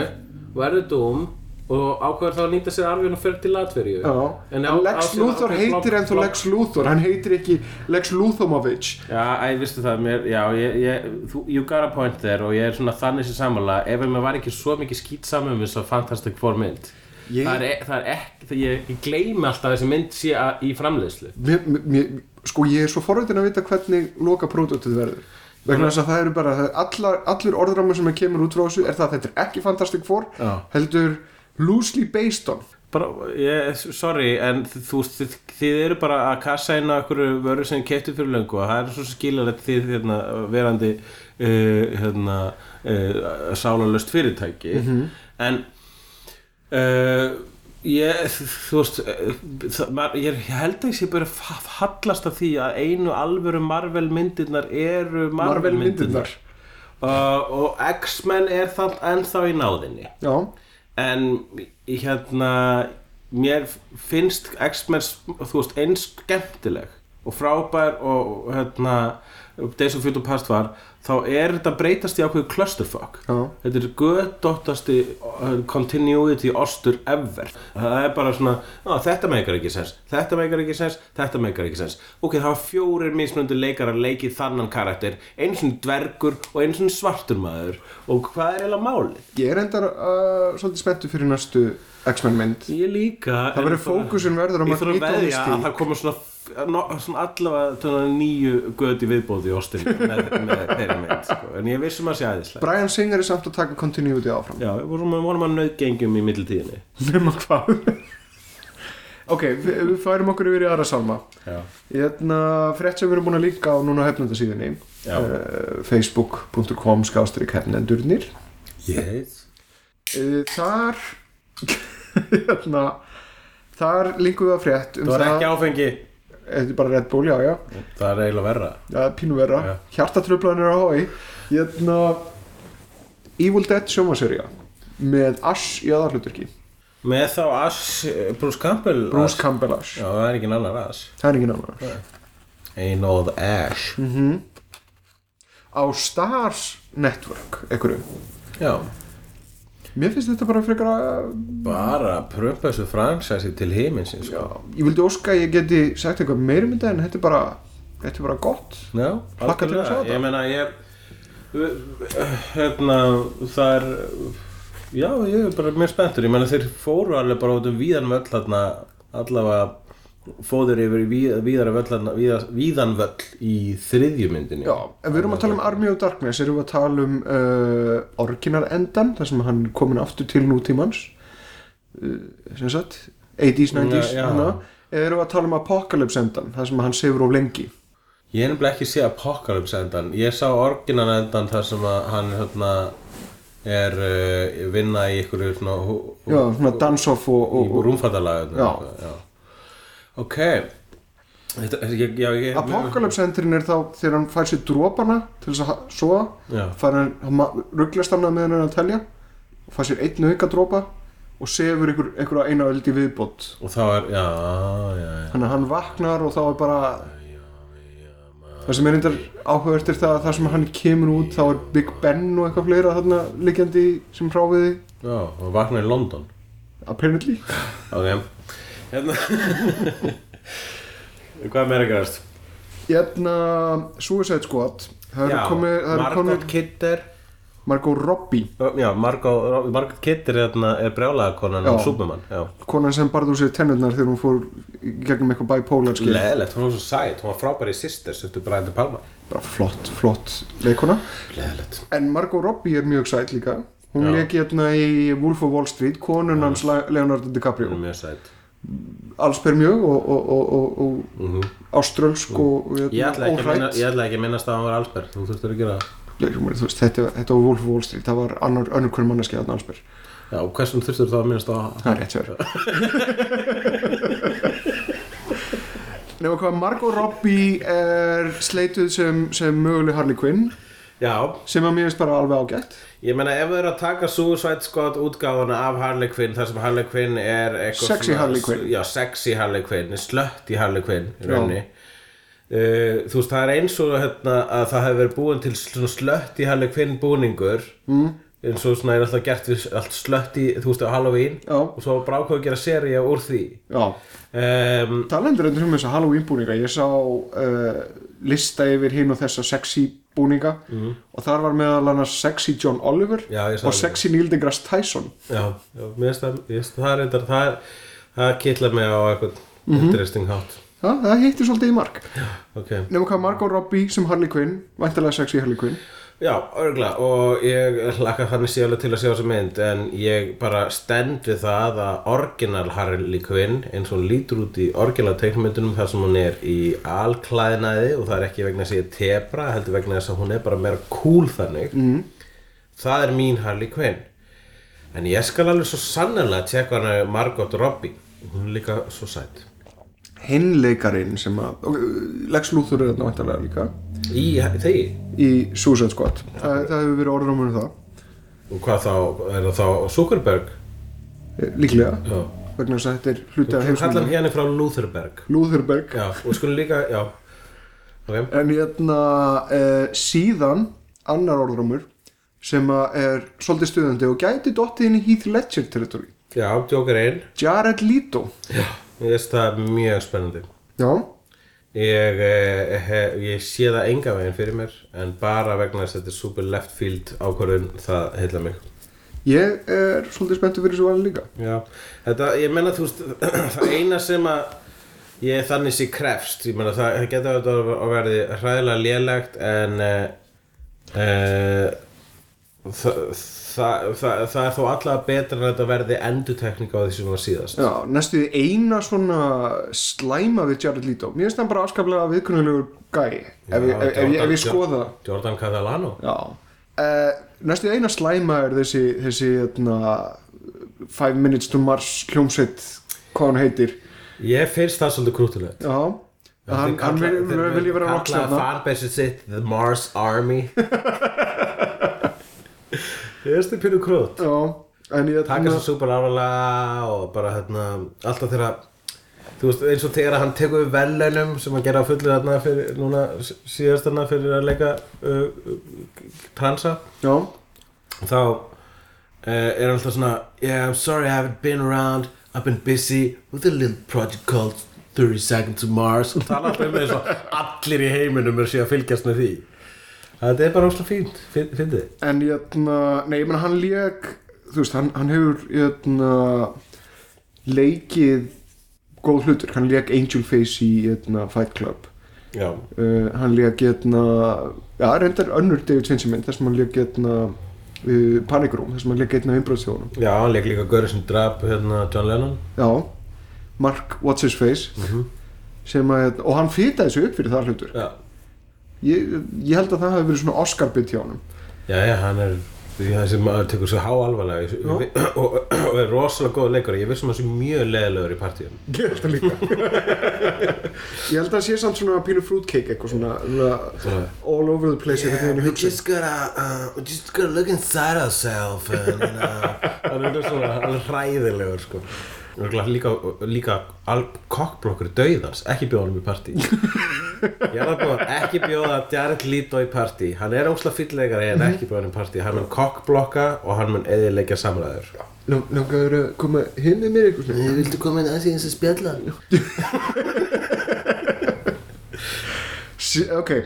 [SPEAKER 2] verður dóm og ákveður þá að nýta sér arfin og fer til Latveríu
[SPEAKER 1] Já,
[SPEAKER 2] En
[SPEAKER 1] en
[SPEAKER 2] á- á
[SPEAKER 1] Lex
[SPEAKER 2] síðan
[SPEAKER 1] Luthor
[SPEAKER 2] ákveður
[SPEAKER 1] heitir
[SPEAKER 2] blogg-
[SPEAKER 1] ennþá
[SPEAKER 2] blogg-
[SPEAKER 1] Lex Luthor hann heitir ekki Lex Luthomovich
[SPEAKER 2] Já, æ, vistu það, mér, já, ég, ég, þú, you got a point there og ég er svona þannig sem samanlega ef mér var ekki svo mikið skýt saman um þess að Fantastic Four mynd
[SPEAKER 1] Ég-
[SPEAKER 2] það, er, e- það er ekki, það, ég, ég gleymi alltaf að þessi mynd sé að, í framleiðslu
[SPEAKER 1] mér, mér, mér- sko ég er svo forveitin að vita hvernig loka pródútið verður vegna þess að það eru bara það er allar, allur orðramur sem kemur út frá þessu er það að þetta er ekki Fantastic Four
[SPEAKER 2] Já.
[SPEAKER 1] heldur loosely based on
[SPEAKER 2] bara, ég, sorry, en þi- þú veist, þið, þið eru bara að kassa inn á einhverju vöru sem keftu fyrir löngu og það er svo skiljanlegt þið hérna, verandi uh, hérna, uh, sálalöst fyrirtæki en uh, ég, þú veist eh, það, maður, ég, er- ég held að ég sé bara fa- fallast af því að einu alvöru Marvel myndirnar eru Marvel
[SPEAKER 1] Marvel
[SPEAKER 2] myndirnar
[SPEAKER 1] myndirnar
[SPEAKER 2] uh, og X-Men er það ennþá í náðinni
[SPEAKER 1] já,
[SPEAKER 2] en ég- hérna mér finnst X-Men þú veist eins skemmtileg og frábær og hérna Days of Future Past var þá er þetta breytast í ákveðu clusterfuck
[SPEAKER 1] já,
[SPEAKER 2] þetta er göðdóttasti continuity ostur ever það er bara svona, á, þetta meikar ekki sens þetta meikar ekki sens, þetta meikar ekki sens ok, það var fjórir mismunandi leikarar leikið þannan karakter, einu sinni dvergur og einu sinni svartur maður og hvað er eiginlega málið?
[SPEAKER 1] ég er endar uh, svolítið spenntu fyrir næstu X-Men mynd
[SPEAKER 2] Ég líka
[SPEAKER 1] Það
[SPEAKER 2] en
[SPEAKER 1] verður
[SPEAKER 2] bara-
[SPEAKER 1] fókusin verður á
[SPEAKER 2] Ég þarf að
[SPEAKER 1] Magneto og
[SPEAKER 2] veðja
[SPEAKER 1] Mystique.
[SPEAKER 2] að það komur svona, no- svona allavega tóna, nýju göti viðbóði í Austin með, með þeirra mynd sko. En ég vissum að sé aðeinslega
[SPEAKER 1] Brian Singer er samt að taka continuity áfram
[SPEAKER 2] Já, við vorum, vorum að nöðgengjum í mittiltíðinni
[SPEAKER 1] nema hvað ok, við, við færum okkur yfir í aðra salma
[SPEAKER 2] Já,
[SPEAKER 1] Hérna, frétt sem við erum búin að líka á núna hefnendasíðinni
[SPEAKER 2] Já.
[SPEAKER 1] uh, facebook.com skástrík hefnendurnir
[SPEAKER 2] yes.
[SPEAKER 1] uh, Þar hérna, þar linkum við að frétt um
[SPEAKER 2] það var
[SPEAKER 1] það, Eh,
[SPEAKER 2] ekki áfengi
[SPEAKER 1] þetta er bara Red Bull, já, já,
[SPEAKER 2] Það er eiginlega verra
[SPEAKER 1] já pínu vera
[SPEAKER 2] Já.
[SPEAKER 1] hjartatröflanir á hói hérna, Evil Dead sjómaserja með Ash í aðarhlutverki,
[SPEAKER 2] Með þá Ash, eh, Bruce Campbell
[SPEAKER 1] Bruce
[SPEAKER 2] Ash.
[SPEAKER 1] Campbell Ash
[SPEAKER 2] Já, það er ekki annar Ash
[SPEAKER 1] það er engin annar
[SPEAKER 2] Ein of Ash
[SPEAKER 1] Mm. á Stars Network, einhverju
[SPEAKER 2] Já,
[SPEAKER 1] mér finnst þetta bara frekar að
[SPEAKER 2] bara prömpa þessu fransæsi til heiminsins sko.
[SPEAKER 1] ég vildi óska að ég geti sagt eitthvað meira um þetta en þetta er bara, þetta er bara gott
[SPEAKER 2] Já,
[SPEAKER 1] Hlakka til að sjá
[SPEAKER 2] algjörlega.
[SPEAKER 1] þetta.
[SPEAKER 2] Ég meina, ég hérna, það er já, ég er bara mjög spenntur ég meina, þeir fóru alveg bara út um víðan völl hérna, allavega fóður yfir í víð, víðara völlan, víða, víðan völl í þriðju myndinni
[SPEAKER 1] Já, ef við erum að tala um Army of Darkness erum við að tala um uh, orginar endan, þar sem hann er komin aftur til nútímans uh, sem sagt, 80s, 90s
[SPEAKER 2] Já, já.
[SPEAKER 1] hana, eða erum við að tala um Apocalypse endan, þar sem hann sefur of lengi
[SPEAKER 2] Ég er nefnilega ekki sé Apocalypse endan Ég sá orginan endan þar sem að hann hérna, er uh, vinna í ykkur svona, hú- hú-
[SPEAKER 1] Já, svona dance-off og,
[SPEAKER 2] í
[SPEAKER 1] og, og
[SPEAKER 2] rúmfattalaga
[SPEAKER 1] Já.
[SPEAKER 2] Ok Þetta, ég, já, ég,
[SPEAKER 1] Apocalypse endurinn er þá þegar hann fær sér dropana til þess að ha- sofa,
[SPEAKER 2] Já.
[SPEAKER 1] fær hann, hann ma- ruglast hann að með hann er að telja og fær sér einn auka dropa og sefur ykkur, ykkur að eina öld í viðbót
[SPEAKER 2] Og þá er, já, já, já
[SPEAKER 1] Þannig að hann vaknar og þá er bara Það sem er reyndar áhugavert er það að þar sem hann kemur út þá er Big Ben og eitthvað fleira þarna liggjandi í- sem hráfiði
[SPEAKER 2] Já, og vakna í London
[SPEAKER 1] apparently
[SPEAKER 2] Ok Hérna Hvað meira gerast?
[SPEAKER 1] Jæna Suicide Squad Það eru komið, það eru
[SPEAKER 2] Margot
[SPEAKER 1] komið
[SPEAKER 2] Kidder
[SPEAKER 1] Margot Robbie,
[SPEAKER 2] Já, Margot, Margot Kidder hérna er brjálaga konan
[SPEAKER 1] Já.
[SPEAKER 2] á Superman Já
[SPEAKER 1] konan sem barði úr sér tennurnar þegar hún fór í gegnum eitthvað bipolar skil
[SPEAKER 2] Leðilegt, hún var svo sæt, hún var frábæri sýstir sem þú bræðið palma
[SPEAKER 1] bara flott, flott leikona
[SPEAKER 2] Leðilegt
[SPEAKER 1] En Margot Robbie er mjög sætt líka Hún
[SPEAKER 2] Já.
[SPEAKER 1] leik hérna í Wolf of Wall Street konun hans La- Leonardo DiCaprio
[SPEAKER 2] Hún er mjög sæt
[SPEAKER 1] allsber mjög og, og, og, og, og áströlsk og og
[SPEAKER 2] Ég ætla
[SPEAKER 1] hérna,
[SPEAKER 2] ekki að minna-
[SPEAKER 1] óhrædd
[SPEAKER 2] ég ætla ekki að minnast að hann var allsberg, þú þurftur að gera það
[SPEAKER 1] Ég meina, þú veist, þetta, þetta var Wolf of Wall Street það var annar, annar hverjum manneski þarna allsber
[SPEAKER 2] Já, og hversum þurftur þá að minnast á hann?
[SPEAKER 1] það er rétt sér Nefnum hvað Margot Robbie er sleituð sem, sem möguleg Harley Quinn
[SPEAKER 2] Já,
[SPEAKER 1] sem að mér finnst bara alveg ágætt
[SPEAKER 2] ég meina ef þau eru að taka Suicide Squad útgáfuna af Harley Quinn þar sem Harley Quinn er eitthvað
[SPEAKER 1] Sexy Harley Quinn.
[SPEAKER 2] Já, sexy Harley Quinn, slött í Harley Quinn í rauninni uh, Þú veist, það er eins og hérna, að það hefur verið búin til svona slött í Harley Quinn búningur mm. eins og svona er alltaf gert við allt slött í, þú veist, á Halloween
[SPEAKER 1] Já.
[SPEAKER 2] og svo brákuðu að gera seríu úr því
[SPEAKER 1] Já,
[SPEAKER 2] um,
[SPEAKER 1] talendur endur um þess að Halloween búninga ég sá uh, lista yfir hinn og þessa sexy búninga og þar var meðal annars sexy John Oliver
[SPEAKER 2] Já, ég sá
[SPEAKER 1] og
[SPEAKER 2] það.
[SPEAKER 1] sexy Neil deGrasse Tyson
[SPEAKER 2] Já, já, mér finnst það, mér finnst það er reyndar, það er, það kittla mig á eitthvað interesting hátt.
[SPEAKER 1] Já, það hittir svolítið í mark
[SPEAKER 2] Ok,
[SPEAKER 1] Nefnum hvað Margot Robbie sem Harley Quinn Væntalega sexy Harley Quinn
[SPEAKER 2] já, örgulega og ég hlakka þannig sérlega til að sjá þessa mynd en ég bara stend við það að orginal Harley Quinn eins og hún lítur út í orginal teiknumyndunum þar sem hún er í alklæðinaði og það er ekki vegna þess að ég er tebra heldur vegna þess að hún er bara meira cool þannig mm. það er mín Harley Quinn en ég skal alveg svo sannlega tjekka hana Margot Robbie hún er líka svo sætt
[SPEAKER 1] Hinleikarin sem að og, uh, Lex Luthor er þetta væntalega líka
[SPEAKER 2] Í þegi?
[SPEAKER 1] Í Suicide Squad Það, það hefur verið orðrumur um það
[SPEAKER 2] Og hvað þá, er það þá Zuckerberg?
[SPEAKER 1] eh, Líklega
[SPEAKER 2] Já.
[SPEAKER 1] Vegna þess að þetta er hluti af
[SPEAKER 2] Kallar hann
[SPEAKER 1] heimsmyndum
[SPEAKER 2] hérna frá Lutherberg.
[SPEAKER 1] Lutherberg
[SPEAKER 2] Já, og skulum líka, já. Ok,
[SPEAKER 1] En hérna uh, síðan Annar orðrumur Sem að er svolítið stuðandi Og gæti dottið inn í Heath Ledger territory
[SPEAKER 2] já, Joker 1.
[SPEAKER 1] Jared Leto
[SPEAKER 2] Ég veist það er mjög spennandi.
[SPEAKER 1] Já
[SPEAKER 2] Ég, eh, he- ég sé það enga veginn fyrir mér, en bara vegna þess að þetta er super left field ákvörðun, það heilla mig.
[SPEAKER 1] Ég er svolítið spenntur fyrir þessu valin líka
[SPEAKER 2] Já, þetta, ég menna þú veist, það eina sem að ég þannig sé krefst, ég menna það, það getur að að verði hræðilega lélegt en uh, uh, það, það, það, það er þó allavega betra en að þetta verði endutekning á því sem var síðast.
[SPEAKER 1] Já, næstuði eina svona slæma við Jared Leto Mér finnst hann bara afskaplega viðkunnulegur gæi ef, ef, ef, ef, ég- ef ég skoða það.
[SPEAKER 2] Jordan Catalano.
[SPEAKER 1] Já uh, Næstuði eina slæma er þessi, þessi hérna, Five Minutes to Mars hljómsveit hvað hann heitir
[SPEAKER 2] Ég finnst það svolítið krútulegt.
[SPEAKER 1] Já, hann, hann vil, vil, vil ég vera hérna.
[SPEAKER 2] Kallaði
[SPEAKER 1] rockstjarnar
[SPEAKER 2] fanbase sitt The Mars Army. Ég finnst þið pínu krút.
[SPEAKER 1] Já, en ég hérna-
[SPEAKER 2] taka þessu súper alvarlega og bara hérna, alltaf þegar þú veist, eins og þegar hann tekur við velunum sem hann gera á fullu þarna fyrir núna sí- síðast þarna fyrir að leika uh, uh, transa
[SPEAKER 1] Já,
[SPEAKER 2] þá uh, er hann alltaf svona yeah, I'm sorry I haven't been around I've been busy with a little project called 30 Seconds to Mars og tala alltaf um eins og allir í heiminum er síðan að fylgjast með því þetta er bara óslega fínt, fyndið fín,
[SPEAKER 1] en jötna, nei, ég menn hann lék þú veist, hann, hann hefur jötna, hérna, leikið góð hlutur hann leik Angel Face í eitna, Fight Club
[SPEAKER 2] já,
[SPEAKER 1] uh, hann leik eitna, já, reyndar önnur David Fincher mynd þar sem hann leik eitna, uh, Panic Room þar sem hann hérna, leik eitna umbróðsjónum
[SPEAKER 2] já, hann leik líka Gauri sem drap hérna John Lennon
[SPEAKER 1] já, Mark What's His Face sem að, og hann fýtaði sig upp fyrir það hlutur
[SPEAKER 2] já,
[SPEAKER 1] ég, ég held að það hafi verið svona Oscar-bit hjá hann
[SPEAKER 2] já, já hann er því það sem maður tekur svo háalvarlega í- og, og er rosalega góð leikari ég vissum að það sé mjög leðilegur í partíum
[SPEAKER 1] Ég held það líka Ég held að sé samt svona pínu fruitcake eitthvað svona, svona all over the place yeah, hvernig henni hugsa
[SPEAKER 2] gotta, uh, we just gotta look inside ourselves and, you know. hann er svona hann er hræðilegur sko Örugglega líka, líka al- kokkblokkur dauðans, ekki bjóða honum í partí ég er það búið að ekki bjóða Jared Leto í partí, hann er ósla fyllegari en ekki bjóða honum í partí, hann mun kokkblokka og hann mun eðilegja samræður
[SPEAKER 1] Lang- Langaður að koma hinn með mér eitthvað svona
[SPEAKER 2] viltu koma inn aðeins í þessi spjalla?
[SPEAKER 1] S- Ok, uh,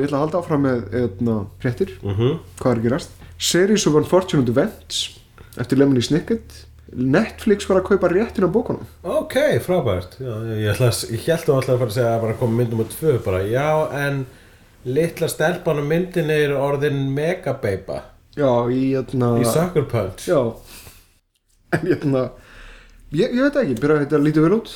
[SPEAKER 1] ég ætla að halda áfram með eitna, fréttir,
[SPEAKER 2] Mm -hmm.
[SPEAKER 1] hvað er að gerast Series of Unfortunate Events eftir Lemony Snicket Netflix var að kaupa réttin á bókunum
[SPEAKER 2] Ok, frábært já, ég, ætla, að- ég held að alltaf að fara að segja að bara koma myndum á tvö bara Já, en litla stelpan á myndinni er orðin megabeipa
[SPEAKER 1] Já, í eitna,
[SPEAKER 2] í Sucker Punch
[SPEAKER 1] Já En eitna, ég, ég veit það ekki, byrja að þetta lítið vel út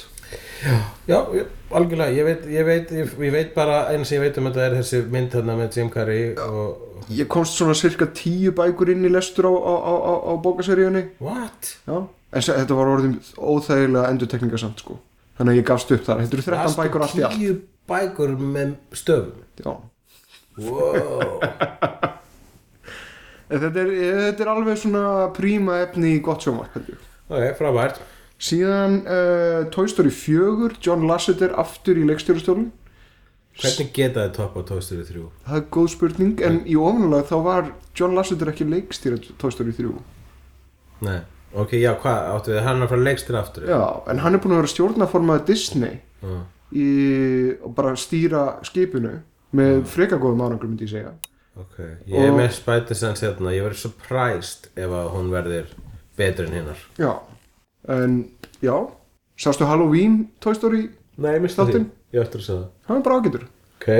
[SPEAKER 2] Já, ég, algjörlega, ég veit, ég, veit, ég, ég veit bara eins sem ég veit um þetta er þessi mynd þarna með Jim Carrey og
[SPEAKER 1] Ég komst svona cirka tíu bækur inn í lestur á, á, á, á, á bókaseríunni
[SPEAKER 2] What?
[SPEAKER 1] Já, en se- þetta var orðin óþægilega endurtekningasamt sko Þannig að ég gafst upp þar, þetta eru 13 bækur allt í allt
[SPEAKER 2] Tíu bækur með stöfum
[SPEAKER 1] Já,
[SPEAKER 2] Wow
[SPEAKER 1] en þetta er, þetta er alveg svona príma efni í gott sjómar
[SPEAKER 2] Ok, frábært
[SPEAKER 1] Síðan uh, Toy Story 4, John Lasseter aftur í leikstjórastjólun
[SPEAKER 2] Hvernig geta þið topp á Toy Story 3?
[SPEAKER 1] Það er góð spurning, en í ofanulega þá var John Lasseter ekki leikstýra Toy Story 3
[SPEAKER 2] Nei, ok, já, hvað, áttu við hann að fara leikstir aftur? Ah.
[SPEAKER 1] Já, en hann er búin að vera stjórnaformaði Disney
[SPEAKER 2] Já.
[SPEAKER 1] í, og bara stýra skipinu með freka góðum árangrum myndi ég segja
[SPEAKER 2] Ok, ég er
[SPEAKER 1] Og-
[SPEAKER 2] með Spider-Sense hérna, ég verður surprised ef að hún verður betur en hinnar.
[SPEAKER 1] Já, en já, sástu Halloween Toy Story,
[SPEAKER 2] Nei, ég misti
[SPEAKER 1] Þáttinn?
[SPEAKER 2] Ég ætti að segja það.
[SPEAKER 1] hann er bara ágætur
[SPEAKER 2] Ok.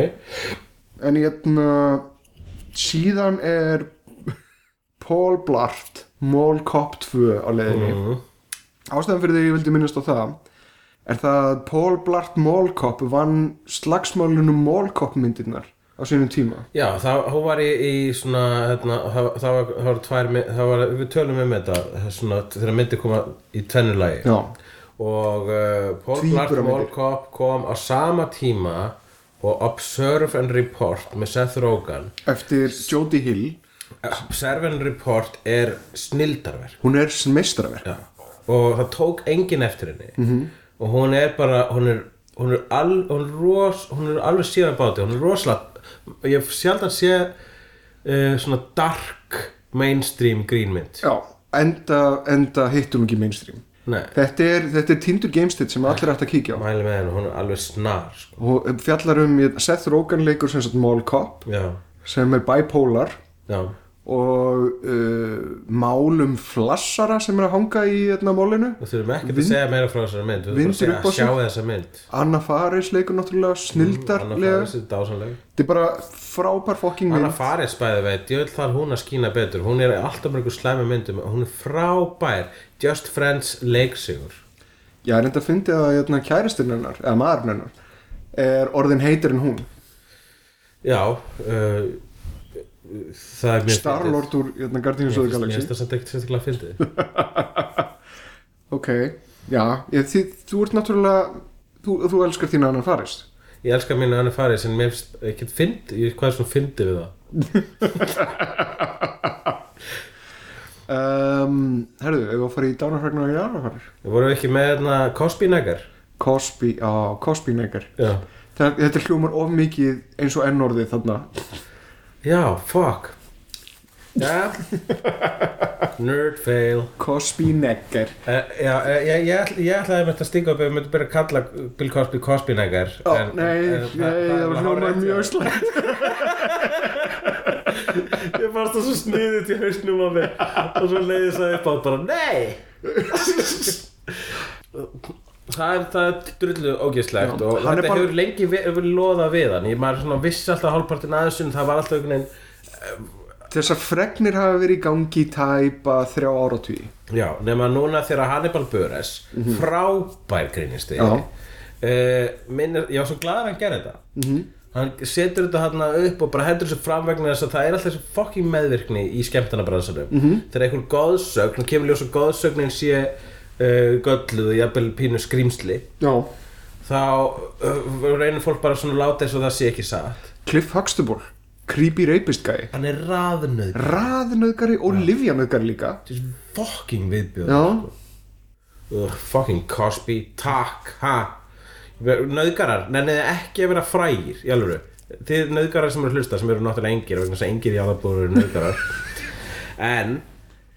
[SPEAKER 1] En hérna, síðan er Paul Blart, Mall Cop 2 á leiðinni
[SPEAKER 2] Mm.
[SPEAKER 1] Ástæðan fyrir því ég vildi minnast á það er það að Paul Blart Mall Cop vann slagsmálunum Mall Cop myndirnar á sínum tíma
[SPEAKER 2] Já, það, hún var í, í svona, hérna, það, það, var, það var tvær, mi- það var, við tölum um þetta, það er svona, þegar myndi koma í tvennu lagi.
[SPEAKER 1] Já,
[SPEAKER 2] Og uh, Paul Blart
[SPEAKER 1] Tvíburamyndir.
[SPEAKER 2] Mallcop kom á sama tíma og Observe and Report með Seth Rogen.
[SPEAKER 1] eftir Jodie Hill
[SPEAKER 2] Observe and Report er snildarverk.
[SPEAKER 1] Hún er meistraverk
[SPEAKER 2] Já. og það tók enginn eftir henni
[SPEAKER 1] Mhm.
[SPEAKER 2] -hmm. og hún er bara hún er, hún er, al, hún er, ros, hún er alveg síðan báti hún er rosalega ég hef sjaldan sé uh, svona dark mainstream grínmynd
[SPEAKER 1] Já, enda, enda hittum ekki mainstream
[SPEAKER 2] Nei,
[SPEAKER 1] Þetta er, þetta er tindur gamestitt sem allir ætti að kíkja á
[SPEAKER 2] mæli með henni, hún er alveg snar sko.
[SPEAKER 1] og fjallar um Seth Rogen leikur sem sagt Mall Cop
[SPEAKER 2] já,
[SPEAKER 1] sem er bipolar
[SPEAKER 2] já,
[SPEAKER 1] og uh, málum flassara sem er að hanga í þarna málinu
[SPEAKER 2] við þurfum ekki að segja meira frá þessari mynd við þurfum bara
[SPEAKER 1] vindur
[SPEAKER 2] að segja
[SPEAKER 1] upp á
[SPEAKER 2] að
[SPEAKER 1] sig.
[SPEAKER 2] sjá þessa mynd
[SPEAKER 1] Anna Faris leikur náttúrulega snildarlega
[SPEAKER 2] Mm, Anna Faris er dásanleg
[SPEAKER 1] þetta er bara frábær fokking
[SPEAKER 2] Anna
[SPEAKER 1] mynd
[SPEAKER 2] Faris bæði veit, ég vil þar hún að skína betur hún er í alltaf mörgur slæmi myndum hún er frábær, Just Friends leiksigur
[SPEAKER 1] ég er enda að fyndi að hérna, kæristinn hennar eða maðurinn hennar er orðin heitir en hún
[SPEAKER 2] Já uh, Það er mjög fyndið.
[SPEAKER 1] Starlord úr hérna, Guardians of the
[SPEAKER 2] Mér
[SPEAKER 1] Galaxy
[SPEAKER 2] finnst þess að ekki sérstaklega fyndið
[SPEAKER 1] ok, já, ég, því, þú ert náttúrulega þú, þú elskar þín Anna Faris
[SPEAKER 2] Ég elska mínu annar farið sem mér finnst ekki fyndið, ég- hvað er svona fyndið við það
[SPEAKER 1] um, herðu, ef við að fara í dánarfagnar og í dánarfagnar
[SPEAKER 2] Við vorum ekki með hérna Cosby Negar
[SPEAKER 1] Cosby, á, Cosby Neger
[SPEAKER 2] Já,
[SPEAKER 1] Það- Þetta hljómar of mikið eins og ennorðið þarna
[SPEAKER 2] Já fuck Já Nerd fail
[SPEAKER 1] Cosby Neger
[SPEAKER 2] Uh, já, uh, ég, ég, ætl, ég ætlaði með þetta stinga upp ef við myndum byrja að kalla Bill Cosby Cosby Negar
[SPEAKER 1] Ó, nei, nei, það var hljómar
[SPEAKER 2] eh.
[SPEAKER 1] mjög slæmt
[SPEAKER 2] Ég fannst það svo sniðið til hausnum á mig og svo leiði það upp á bara nei það er, það er drullu ógeðslegt
[SPEAKER 1] Já,
[SPEAKER 2] og
[SPEAKER 1] hann er
[SPEAKER 2] þetta
[SPEAKER 1] bara-
[SPEAKER 2] hefur lengi ve- hefur loðað við hann ég maður svona vissi alltaf hálfpartin aðeins en það var alltaf einhvern
[SPEAKER 1] Þessar fregnir hafa verið í gangi í tæpa þrjá áratví
[SPEAKER 2] veginn já, nema núna þegar Hannibal Buress frábær grínisti
[SPEAKER 1] Mhm. Já.
[SPEAKER 2] minn, ég var svo glad að hann gerði þetta
[SPEAKER 1] Mhm.
[SPEAKER 2] hann setur þetta hann upp og bara hendur þessu fram vegna þess að það er alltaf þessi fucking meðvirkni í skemmtanabransanum
[SPEAKER 1] Mhm.
[SPEAKER 2] þegar einhver goðsögn, kemur ljósa goðsögnin sé uh, gölluð, jafnvel pínu skrýmsli
[SPEAKER 1] Já
[SPEAKER 2] þá uh, reynir fólk bara svona að láta eins og það sé ekki satt
[SPEAKER 1] Cliff Huxtable, creepy rapist gæi
[SPEAKER 2] hann er raðnöð
[SPEAKER 1] raðnöðgari og livjanöðgari líka
[SPEAKER 2] fucking viðbjörn
[SPEAKER 1] Já,
[SPEAKER 2] Ugh, fucking Cosby, takk ha. nöðgarar, nenniði ekki að vera frægir í alvöru þið nöðgarar sem eru að hlusta sem eru náttúrulega engir vegna þess að engir í aðabúru eru nöðgarar en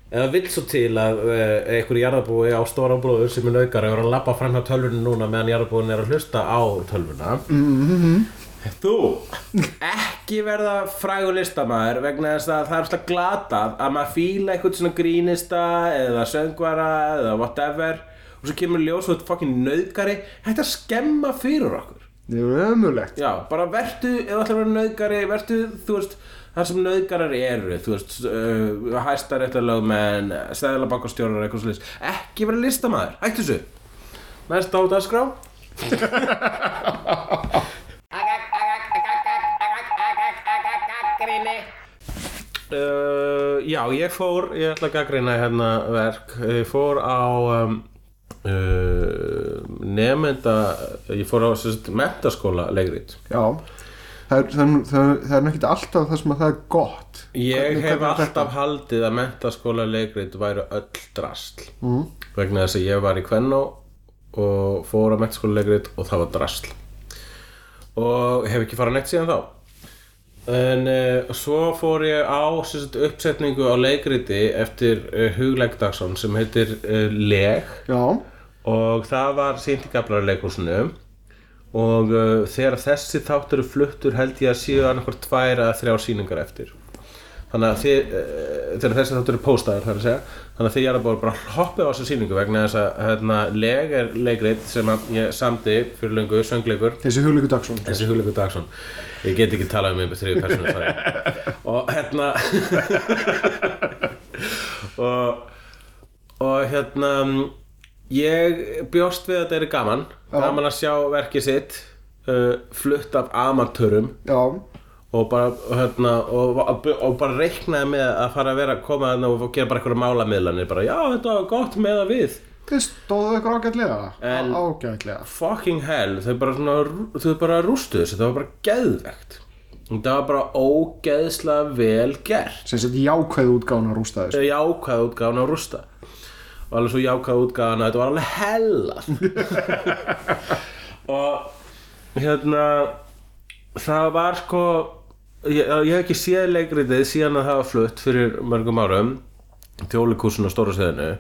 [SPEAKER 2] eða vill svo til að uh, einhver í jarðabúi á stóran bróður sem er nöðgar er að labba fram hjá tölvunni núna meðan jarðabúin er að hlusta á tölvuna Þú ekki verða frægur listamaður vegna þess að það er alltaf glatað að maður fíla eitthvað svona grínista eða söngvara eða whatever og svo kemur ljós og þetta fucking nöðgari þetta er að skemma fyrir okkur
[SPEAKER 1] það er ömulegt
[SPEAKER 2] Já, bara vertu, eða ætlar að vera nöðgari, vertu, þú veist, þar sem nöðgarar eru, þú veist, uh, hæstaréttarlögmenn, stæðalabankastjórar, eitthvað slúðis, ekki vera listamaður, hættu þessu. Næst á dagskrá. Uh, já, ég fór, ég ætla að gaggrina hérna verk, ég fór á um, uh, nefnda, ég fór á mentaskóla legrið.
[SPEAKER 1] Já, það er, það er, það er, það er ekkert alltaf það sem að það er gott
[SPEAKER 2] Ég
[SPEAKER 1] Hvernig-
[SPEAKER 2] hef
[SPEAKER 1] hvernig er
[SPEAKER 2] alltaf
[SPEAKER 1] þetta?
[SPEAKER 2] haldið að mentaskóla leikrit væru öll drasl
[SPEAKER 1] Mm.
[SPEAKER 2] vegna þess að ég var í Kvennó og fór á mentaskóla leikrit og það var drasl og hef ekki farað neitt síðan þá en uh, svo fór ég á sem sagt, uppsetningu á leikriti eftir uh, Huglegdagsson sem heitir uh, Leg
[SPEAKER 1] Já,
[SPEAKER 2] og það var sýnt í gaflarleikursinu og uh, þegar þessi þáttur er fluttur held ég að séu annarkvort tvær að þrjár sýningar eftir þannig að þið, uh, þegar þessi þáttur er póstaður þar að segja þannig að þið er bara hoppið á þessu sýningu vegna þess að hérna, leg er leikrit sem að ég samdi fyrir löngu söngleikur
[SPEAKER 1] þessi hugleiku dagsson
[SPEAKER 2] þessi hugleikur Dagsson ég get ekki talað um einhver þriðu personu sorry. og hérna og og hérna mm, ég bjóst við að þetta er gaman gaman að sjá verkið sitt uh, flutt af amatörum
[SPEAKER 1] Já,
[SPEAKER 2] og bara, hérna, og, og, og bara reiknaði með að fara að vera að koma þarna og gera bara einhverja málamiðlanir bara já þetta var gott með að við
[SPEAKER 1] þið stóðu ykkur ágætlega
[SPEAKER 2] En-
[SPEAKER 1] Ágætlega
[SPEAKER 2] fucking hell þau bara, svona, þau bara rústu þessu það var bara geðvegt það var bara ógeðslega vel gert
[SPEAKER 1] sem sett jákvæð útgána rústa þessu
[SPEAKER 2] jákvæð útgáðan að rústa og alveg svo jákvæð útgáðan að þetta var alveg hella og hérna það var sko ég, ég hef ekki séð leikritið síðan að það var flutt fyrir mörgum árum tjólikúsin á stóra stöðinu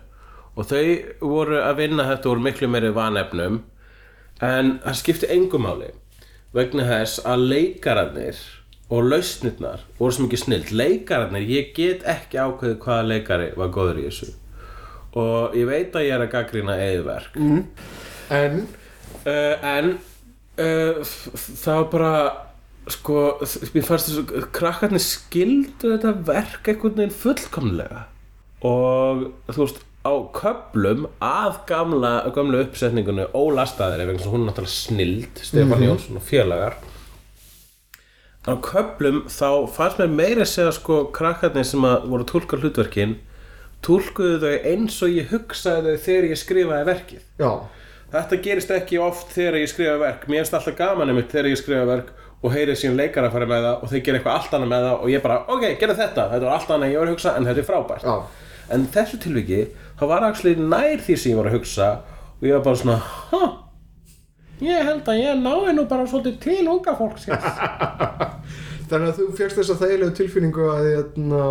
[SPEAKER 2] og þau voru að vinna þetta úr miklu meiri vanefnum en það skipti engum máli vegna þess að leikararnir og lausnirnar voru sem ekki snilt leikararnir, ég get ekki ákveðið hvaða leikari var góður í þessu og ég veit að ég er að gaggrina eðverk mm.
[SPEAKER 1] En,
[SPEAKER 2] uh, en uh, f- f- það var bara sko, þ- mér fannst þessu krakkarnir skildu þetta verk einhvern veginn fullkomlega og þú veist á köplum að gamla, gamla uppsetningunni ólastaðir ef einhvern hún er náttúrulega snild Stefán Jónsson og félagar á köplum þá fannst mér meira að segja sko krakkarnir sem að voru að tólka hlutverkin tólkuðu þau eins og ég hugsaði þau þegar ég skrifaði verkið
[SPEAKER 1] já,
[SPEAKER 2] Þetta gerist ekki oft þegar ég skrifa verk Mér finnst alltaf gaman einmitt þegar ég skrifa verk og heyrið síðan leikara fara með það og þeir gera eitthvað allt annað með það og ég bara, ok, gera þetta þetta var allt annað en ég var að hugsa en þetta er frábært
[SPEAKER 1] já
[SPEAKER 2] en þessu tilviki, það var actually nær því sem ég var að hugsa og ég var bara svona, ha ég held að ég nái nú bara svolítið til unga fólks hér
[SPEAKER 1] Þannig að þú fegst þessa þægilegu tilfinningu að, hérna,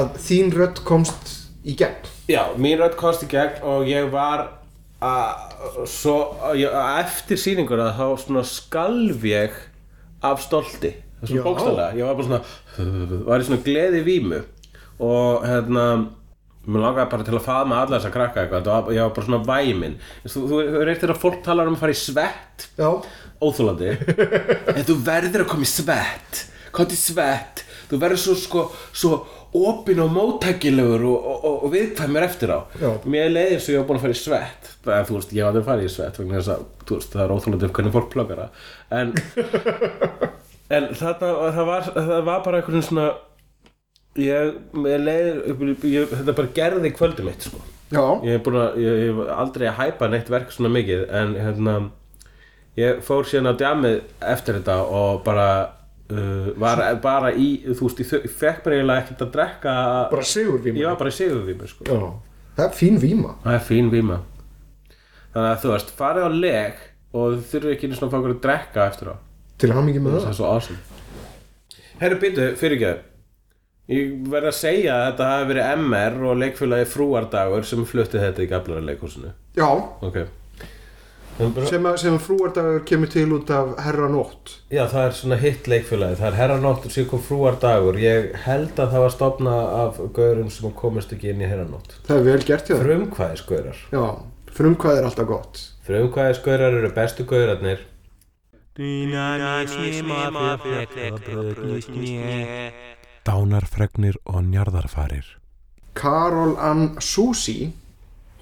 [SPEAKER 1] að þín rödd komst í gegn
[SPEAKER 2] Já, mín rödd komst í gegn og ég var að svo, að ég- að eftir sýninguna þá svona skalf ég af stolti Það er
[SPEAKER 1] Já.
[SPEAKER 2] svona bókstallega, ég var bara svona var í svona gleði vímu og hérna Mér langaði bara til að faðma alla þess að krakka eitthvað þetta var- Ég var bara svona væmin Þú, þú er eitt þegar fólk talar um að fara í svett
[SPEAKER 1] Já,
[SPEAKER 2] óþólandi en þú verður að koma í svett kom til svett þú verður svo sko svo opinn og móttækilegur og, og, og, og viðkvæmur eftir á
[SPEAKER 1] Já.
[SPEAKER 2] mér leiði eins og ég var búin að fara í svett en þú veist, ég var að fara í svett vegna þess að þú veist, það er óþólandi hvernig fólk plöggar það en, en þarna, það var, það var bara einhvern svona ég, ég leiði ég, þetta bara gerði kvöldum mitt sko
[SPEAKER 1] já,
[SPEAKER 2] ég hef búin að, ég ég hef aldrei að hæpa neitt verk svona mikið en hérna ég fór síðan á djamið eftir þetta og bara uh, var bara í, þú veist, ég þu- ég fekk bara eiginlega ekkert að drekka
[SPEAKER 1] bara sigur víma
[SPEAKER 2] ég var bara í sigurvíma sko.
[SPEAKER 1] Já, það er fín víma
[SPEAKER 2] það er fín víma þannig að þú veist, farið á leg og þú þurfið ekki einu svona að fá okkur að drekka eftir á
[SPEAKER 1] Til hamingi með
[SPEAKER 2] það
[SPEAKER 1] það
[SPEAKER 2] er svo awesome Herru býtu, fyrirgjöðu Ég verð að segja að þetta hafi verið MR og leikfélagi frúardagur sem flutti þetta í gaflara leikhúsinu
[SPEAKER 1] Já,
[SPEAKER 2] Ok Það er bara-
[SPEAKER 1] sem, að- sem að frúardagur kemur til út af herranótt
[SPEAKER 2] Já, það er svona hitt leikfélagi Það er herranótt og sér kom frúardagur Ég held að það var stofna af gaurum sem komist ekki inn í herranótt
[SPEAKER 1] Það er vel gert hjá það
[SPEAKER 2] Frumkvæðisgaurar
[SPEAKER 1] Já, frumkvæði er alltaf gott
[SPEAKER 2] Frumkvæðisgaurar eru bestu gaurarnir Dánarfregnir og njarðarfarir
[SPEAKER 1] Karol Ann Susi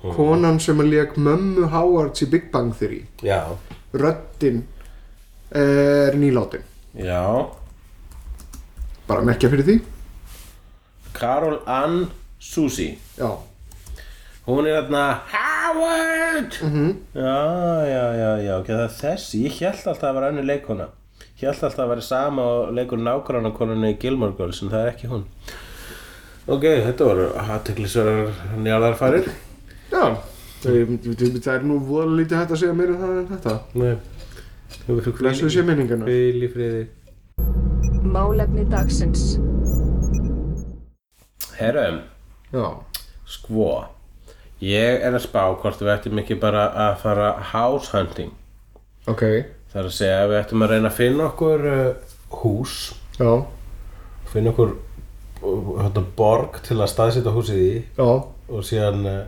[SPEAKER 1] Konan sem að leik mömmu Howards í Big Bang Theory
[SPEAKER 2] Já,
[SPEAKER 1] Röddin er nýlátin
[SPEAKER 2] já
[SPEAKER 1] Bara merkja fyrir því
[SPEAKER 2] Karol Ann Susi
[SPEAKER 1] Já,
[SPEAKER 2] Hún er þarna Howard
[SPEAKER 1] Mhm.
[SPEAKER 2] Já, já, já, já, ok, það er þessi Ég held alltaf að vera önnu leikona Ég held alltaf að vera sama og leikur nákvæmna konunni í Gilmore Girls en það er ekki hún Ok, þetta voru aðteklisverðar njálarfarir
[SPEAKER 1] já Það, það er nú voða lítið hægt að segja meira um það en þetta
[SPEAKER 2] Nei
[SPEAKER 1] Blessuð sé minningarnar.
[SPEAKER 2] Hvíl í friði
[SPEAKER 3] Málefni dagsins.
[SPEAKER 2] Herrum,
[SPEAKER 1] Já,
[SPEAKER 2] sko Ég er að spá hvort við ættum ekki bara að fara house hunting
[SPEAKER 1] ok
[SPEAKER 2] Það er að segja að við ættum að reyna að finna okkur uh, hús
[SPEAKER 1] Já,
[SPEAKER 2] finna okkur hérna, borg til að staðsetja húsið í
[SPEAKER 1] já,
[SPEAKER 2] og síðan eh,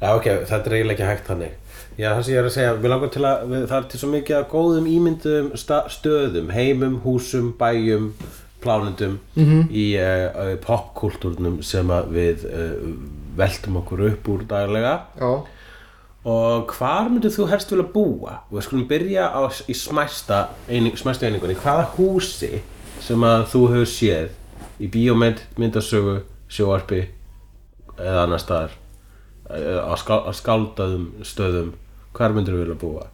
[SPEAKER 2] já ok, þetta er eiginlega ekki hægt þannig já það sem ég er að segja, við langar til að við, það er til svo mikið að góðum ímyndum sta, stöðum, heimum, húsum, bæjum plánundum -hmm. í uh, popkultúrnum sem að við uh, veltum okkur upp úr daglega
[SPEAKER 1] já
[SPEAKER 2] og hvar myndir þú helst vilja búa? Við skulum byrja á, í smæsta, eining, smæsta einingunni hvaða húsi sem að þú hefur séð í bíómynd, myndasögu, sjóarpi eða annar staðar eh, á, skal, á skáldaðum stöðum hvar myndir þú vilja búa?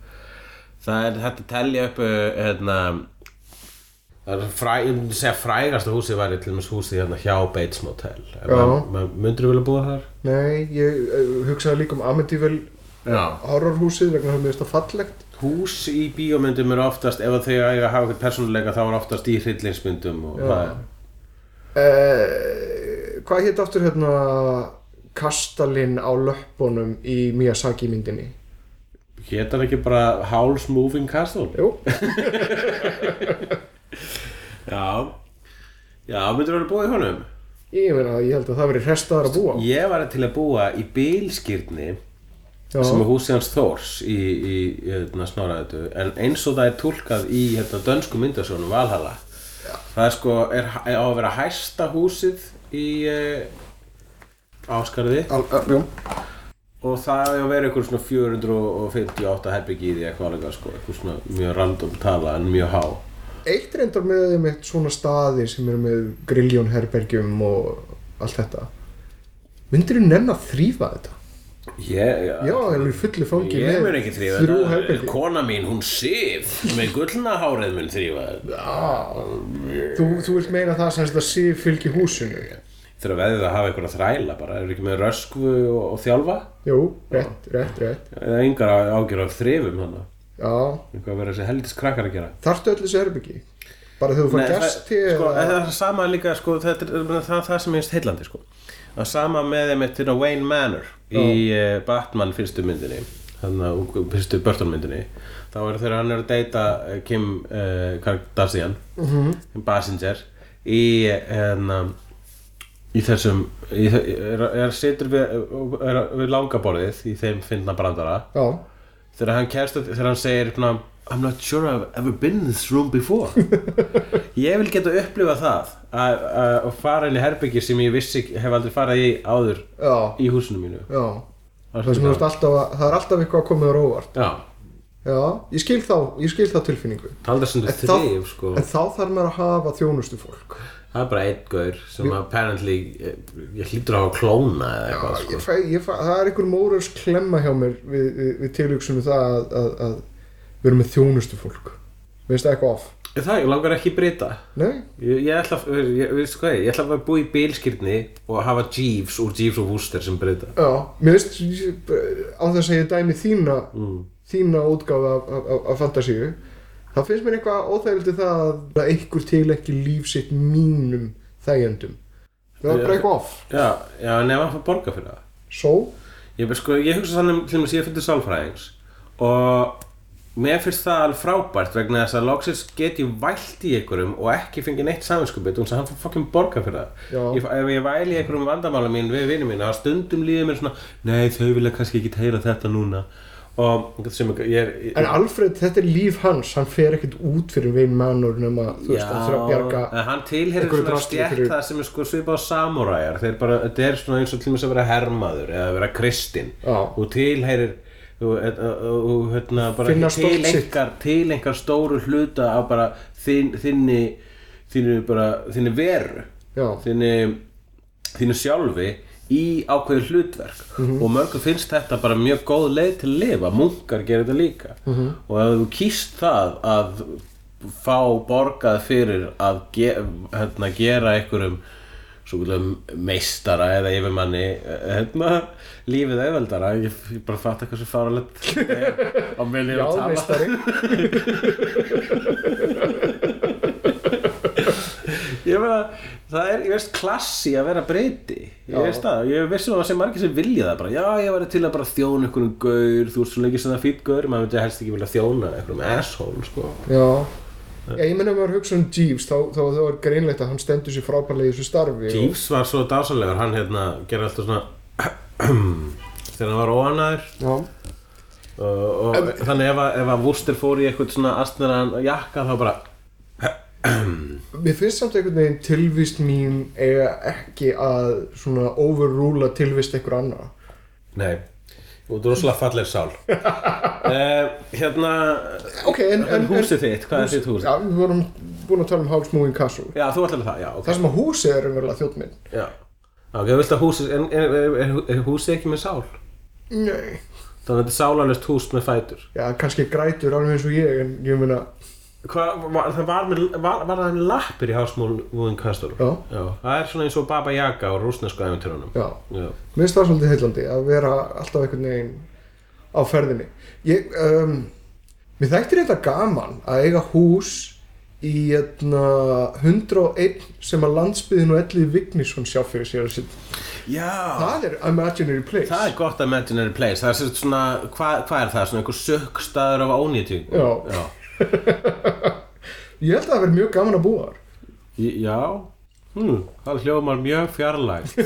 [SPEAKER 2] Það er hægt að telja upp eh, hérna það er fræ, ég myndi segja frægasta húsið væri til dæmis húsið hérna hjá Bates Motel
[SPEAKER 1] Já.
[SPEAKER 2] myndir þú vilja búa þar?
[SPEAKER 1] Nei, ég eh, hugsaði líka um Amityville
[SPEAKER 2] Já
[SPEAKER 1] horrorhúsið vegna það mér finnst það fallegt
[SPEAKER 2] Hús í bíómyndum eru oftast, ef þau eiga að hafa eitthvað persónuleika þá eru oftast í hryllingsmyndum og það er
[SPEAKER 1] eh, Hvað hétt aftur hérna kastalinn á löppunum í Miyazaki myndinni?
[SPEAKER 2] Hétar ekki bara Howl's Moving Castle?
[SPEAKER 1] Jú,
[SPEAKER 2] Já Já, myndir verið að búa í honum?
[SPEAKER 1] ég meina að ég held að það veri restaðar að búa
[SPEAKER 2] Ég var til að búa í Bilskirni
[SPEAKER 1] Já,
[SPEAKER 2] sem er húsið hans Þórs í, í, í hérna, snoraðutu en eins og það er túlkað í hérna, dönsku myndasjónum Valhalla það er sko, er, er á að vera hæsta húsið í eh, Áskarði
[SPEAKER 1] al, al, jú.
[SPEAKER 2] og það er að vera einhver svona 458 herbyggi í því eitthvað alveg sko, eitthvað svona mjög random tala en mjög há
[SPEAKER 1] Eitt reyndar með þeim eitt svona staði sem eru með grilljón herbergjum og allt þetta Myndirðu nenn að þrýfa þetta?
[SPEAKER 2] ég,
[SPEAKER 1] Já, það er fullu fangi
[SPEAKER 2] ég
[SPEAKER 1] með
[SPEAKER 2] mun ekki þrýfa
[SPEAKER 1] þrjú
[SPEAKER 2] þetta.
[SPEAKER 1] herbergi
[SPEAKER 2] kona mín, hún sif með gullna hárið mun þrýfa þetta.
[SPEAKER 1] þú, þú vilt meina það sem þetta sé fylgi húsinu
[SPEAKER 2] þurfa að veðið að hafa einhverja þræla bara, eru ekki með röskvu og, og þjálfa
[SPEAKER 1] Jú, rétt, rétt, rétt
[SPEAKER 2] eða engar ágjör af þrifum hann
[SPEAKER 1] Já,
[SPEAKER 2] eitthvað að vera þessi heldis krakkar að gera
[SPEAKER 1] Þarftu öll þessi herbyggi? Bara þegar þú fær gesti
[SPEAKER 2] það, sko,
[SPEAKER 1] eða...
[SPEAKER 2] það er sama líka sko, þetta er það, það, það sem minnst heillandi sko. að sama með þeim eittina Wayne Manor í uh, Batman fyrstu myndinni þannig að fyrstu Burton myndinni þá er þegar hann er að deyta eh, Kim uh, Kardashian mm -hmm. Basinger í eh, hérna í þessum í, þe- er, er situr við, er, við langaborðið í þeim finna brandara
[SPEAKER 1] já,
[SPEAKER 2] þegar hann kæst þegar hann segir svona, I'm not sure I've ever been in this room before ég vil geta upplifa það að- að að fara inn í herbyggi sem ég vissi ekki- hef aldrei farið í áður
[SPEAKER 1] já,
[SPEAKER 2] í húsinu mínu
[SPEAKER 1] já.
[SPEAKER 2] Það
[SPEAKER 1] Það,
[SPEAKER 2] er
[SPEAKER 1] er
[SPEAKER 2] svona-
[SPEAKER 1] svona alltaf, að- það er alltaf eitthvað að koma þér á óvart
[SPEAKER 2] já,
[SPEAKER 1] já, ég skil þá, ég skil þá tilfinningu
[SPEAKER 2] taldar sem
[SPEAKER 1] En
[SPEAKER 2] þú
[SPEAKER 1] þá-
[SPEAKER 2] þrif sko.
[SPEAKER 1] en þá þarf maður að hafa þjónustu fólk
[SPEAKER 2] það er bara einn gaur sem apparently eh, ég hlýtur á að klóna eða eitthvað
[SPEAKER 1] ég
[SPEAKER 2] sko.
[SPEAKER 1] fæ, ég fæ, það er einhver mórals klemma hjá mér við, við, við tilhugsunum það að, að, að við erum með þjónustu fólk veist það eitthvað off
[SPEAKER 2] Ég það, ég langar ekki breyta
[SPEAKER 1] nei,
[SPEAKER 2] ég, ég ætla að, ég, veistu hvað, ég ætla að búa í bílskirni og hafa Jeeves úr Jeeves og Wooster sem breyta
[SPEAKER 1] já, mér veist á þess að ég dæmi þína
[SPEAKER 2] Mm.
[SPEAKER 1] þína útgáfa af, af, af, af fantasíu þá finnst mér eitthvað óþægildi það að einhver til ekki líf sitt mínum þægjendum það er bara eitthvað off
[SPEAKER 2] já, já, en ef hann fór borga fyrir það
[SPEAKER 1] so,
[SPEAKER 2] Ég, bara, sko, ég hugsa þannig til þess að ég fyrir sálfræðings og mér finnst það alveg frábært vegna þess að loksins get ég vælt í einhverjum og ekki fengið neitt saminskupið og hann fór fokkin borga fyrir
[SPEAKER 1] Já.
[SPEAKER 2] það ég, ef ég væli í einhverjum vandamálum mín við vinið mín þá stundum líður mér svona nei þau vilja kannski ekki heyra þetta núna og sem ég, ég, ég
[SPEAKER 1] en Alfred, þetta er líf hans hann fer ekkert út fyrir vinn mannur nema, þú veist, hann þurfa að bjarga
[SPEAKER 2] en hann tilherir
[SPEAKER 1] einhverju
[SPEAKER 2] svona
[SPEAKER 1] drasli
[SPEAKER 2] stjætt
[SPEAKER 1] fyrir-
[SPEAKER 2] það sem er sko svipað á samúræjar þeir bara, þetta er svona eins og til mér að vera hermaður eða að vera kristinn
[SPEAKER 1] Já.
[SPEAKER 2] og tilherir og, og, eh, og, og hérna
[SPEAKER 1] Finna
[SPEAKER 2] bara
[SPEAKER 1] stolt sitt.
[SPEAKER 2] tilengar, tilengar stóru hluta af bara þinn, þinni þinni bara, þinni veru
[SPEAKER 1] Já.
[SPEAKER 2] þinni þínu sjálfi í ákveðu hlutverk
[SPEAKER 1] Mhm.
[SPEAKER 2] og mörgum finnst þetta bara mjög góð leið til að lifa, munkar gerir þetta líka
[SPEAKER 1] Mhm.
[SPEAKER 2] -hmm. og ef þú kýst það að fá borgað fyrir að ge hérna, gera einhverjum svokulegum meistara eða yfirmanni hérna, lífið auðveldara ég, ég bara fatt eitthvað sem fáralegt á mér lífið
[SPEAKER 1] já,
[SPEAKER 2] að tala
[SPEAKER 1] meistari
[SPEAKER 2] Ég meina, það er, ég veist, klassi að vera breyti Ég
[SPEAKER 1] Já.
[SPEAKER 2] veist það, ég veist það sem margir sem vilja það bara Já, ég var til að bara þjóna einhverjum gaur Þú ert svo lengi sem það fýtt gaur Maður myndi helst ekki vilja þjóna einhverjum asshole, sko
[SPEAKER 1] Já,
[SPEAKER 2] Eh.
[SPEAKER 1] ég, ég menna að maður hugsa um Jeeves þá, þá, þá er greinlegt að hann stendur sér frábærlega í þessu starfi og,
[SPEAKER 2] Jeeves var svo dásalegur, hann hérna gerði alltaf svona Þegar hann var óanæður
[SPEAKER 1] já,
[SPEAKER 2] og, og þannig ef að, ef að Wooster fór í eitthvað svona astnaran jakka Þá bara,
[SPEAKER 1] Mér finnst samt einhvern veginn tilvist mín eiga ekki að svona overrúla tilvist einhver annað
[SPEAKER 2] nei Og þú er rosalega falleg sál uh, Hérna,
[SPEAKER 1] Ok, en, en,
[SPEAKER 2] en,
[SPEAKER 1] en
[SPEAKER 2] húsið þitt, hvað er þitt hús?
[SPEAKER 1] Já, við vorum búin að tala um Hálf Moving Castle
[SPEAKER 2] Já, þú ætlar það, já, ok
[SPEAKER 1] Það sem að húsið er umverulega þjóttminn
[SPEAKER 2] Já, ok, ég vilt að húsi, en, er, er, er, er húsi ekki með sál?
[SPEAKER 1] Nei
[SPEAKER 2] Þannig að þetta er sálanlust hús með fætur.
[SPEAKER 1] Já, kannski grætur alveg eins og ég en ég meina
[SPEAKER 2] Hva, var, það var, með, var, var það með lappir í hásmúðin kastur?
[SPEAKER 1] Já.
[SPEAKER 2] Það er svona eins og Baba Yaga og rúsnesku æventurunum.
[SPEAKER 1] Já,
[SPEAKER 2] Já.
[SPEAKER 1] Mér finnst það svolítið heillandi að vera alltaf einhvern veginn á ferðinni. Ég, um, mér þættir þetta gaman að eiga hús í hérna, etna, 101 sem að landsbyðin og ellið Vignisson sjá fyrir sér að sitt.
[SPEAKER 2] Já.
[SPEAKER 1] Það er imaginary place.
[SPEAKER 2] Það er gott að imaginary place, það er sem sagt svona, hvað hva er það, svona einhver sökkstaður af ónýtingu?
[SPEAKER 1] Já. Ég held að það verði mjög gaman að búa þar.
[SPEAKER 2] Í- Já. Hm, það hljómar mjög fjarlægt.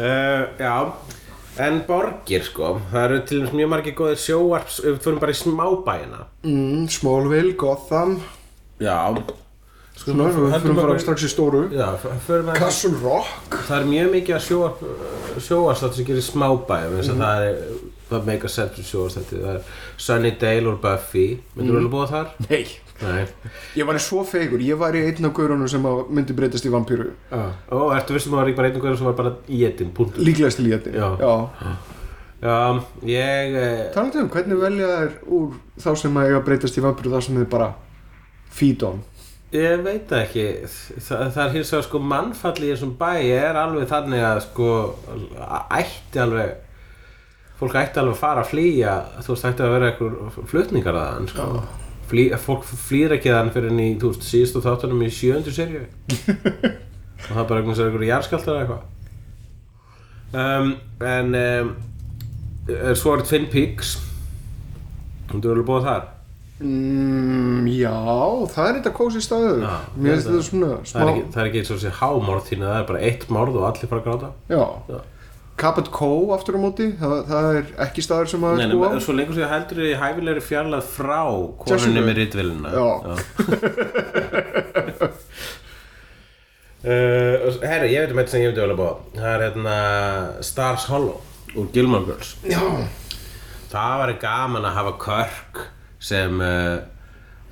[SPEAKER 2] uh, já, en borgir sko, það eru til dæmis mjög margir góðir sjóvarps, ef við fyrir bara í smábæina.
[SPEAKER 1] Mm, Smallville, Gotham,
[SPEAKER 2] Já. Skulum,
[SPEAKER 1] svona, við
[SPEAKER 2] höldum
[SPEAKER 1] fyrir að fara
[SPEAKER 2] okkur-
[SPEAKER 1] strax í stóru.
[SPEAKER 2] Já, f- förum að...
[SPEAKER 1] Castle Rock.
[SPEAKER 2] Það er mjög mikið að sjóvarp, sjóvarpslættu sem gerir smábæja, eins og það er, það make a sense um sjóvarpslættu, það er Sunnydale og Buffy, myndur þú alveg búa þar?
[SPEAKER 1] Nei.
[SPEAKER 2] Nei.
[SPEAKER 1] Ég væri svo feigur, ég væri einn af gaurunum sem að myndi breytast í vampýru.
[SPEAKER 2] Ó, ertu vissum að það var ekki bara einn og hverjum sem var bara í etin, punktur?
[SPEAKER 1] Líklegast til í þetta.
[SPEAKER 2] Já. Já, ég... eh,
[SPEAKER 1] Talandi um hvernig velja þær úr þá sem að eiga að breytast í vampir og þá sem þið bara feed on
[SPEAKER 2] Ég veit það ekki, Þa, það er hins vegar sko mannfall í þessum bæ er alveg þannig að sko ætti alveg, fólk ætti alveg að fara að flýja, þú veist ætti að vera einhver flutningar að hann sko. Flý, fólk flýr ekki þann fyrir henni í, þú veist, síðustu þáttunum í sjöndu serju og það er bara einhvern veginn einhver jarðskjálftar eða eitthvað um, en um, er svo er Twin Peaks þú hefur alveg búið þar
[SPEAKER 1] Mm, já, það er eitthvað kósi staður
[SPEAKER 2] Já,
[SPEAKER 1] Mér
[SPEAKER 2] ég
[SPEAKER 1] finnst
[SPEAKER 2] held
[SPEAKER 1] þetta
[SPEAKER 2] að-
[SPEAKER 1] svona smá
[SPEAKER 2] Það er ekki, það er ekki eins og þessi hámorð þín að það er bara eitt morð og allir fara að gráta
[SPEAKER 1] Já,
[SPEAKER 2] Já.
[SPEAKER 1] Capit Co aftur á móti það, það er ekki staður sem að
[SPEAKER 2] Nei,
[SPEAKER 1] búa á.
[SPEAKER 2] nema, svo lengur sem heldur þið í hæfilegri fjarlæð frá
[SPEAKER 1] Jessica.
[SPEAKER 2] konunni með ritvilina
[SPEAKER 1] Já.
[SPEAKER 2] uh, Herra, ég veit um eitt sem ég myndi vel að búa á. Það er hérna Stars Hollow úr Gilmore Girls
[SPEAKER 1] Já,
[SPEAKER 2] Það var gaman að hafa Körk sem eh,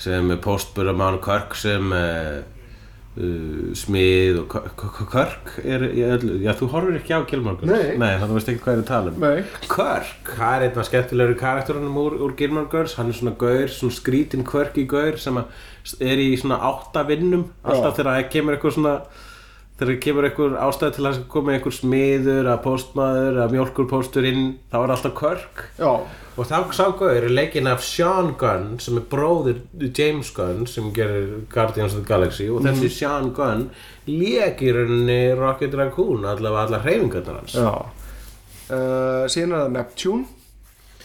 [SPEAKER 2] sem postburamann Körk sem uh, uh, smið og Kör- Kör- Körk er, í öllu- já þú horfir ekki á Gilmore Girls
[SPEAKER 1] Nei.
[SPEAKER 2] Nei þannig veist ekki hvað er að tala um
[SPEAKER 1] nei
[SPEAKER 2] Körk, það er einn af skemmtilegur karakterunum úr, úr Gilmore Girls, hann er svona gaur, svona skrítin kvörki gaur sem að er í svona átta vinnum alltaf þegar það kemur eitthvað svona þegar kemur eitthvað ástæð til að koma eitthvað smiður, að postmaður, að mjólkurpóstur inn, þá er alltaf Körk
[SPEAKER 1] Já,
[SPEAKER 2] og þá sá gaur er leikinn af Sean Gunn sem er bróðir James Gunn sem gerir Guardians of the Galaxy og þessi Sean Gunn lékir henni Rocket Raccoon allavega allar hreyfingarnar hans
[SPEAKER 1] já uh, Síðan er það Neptune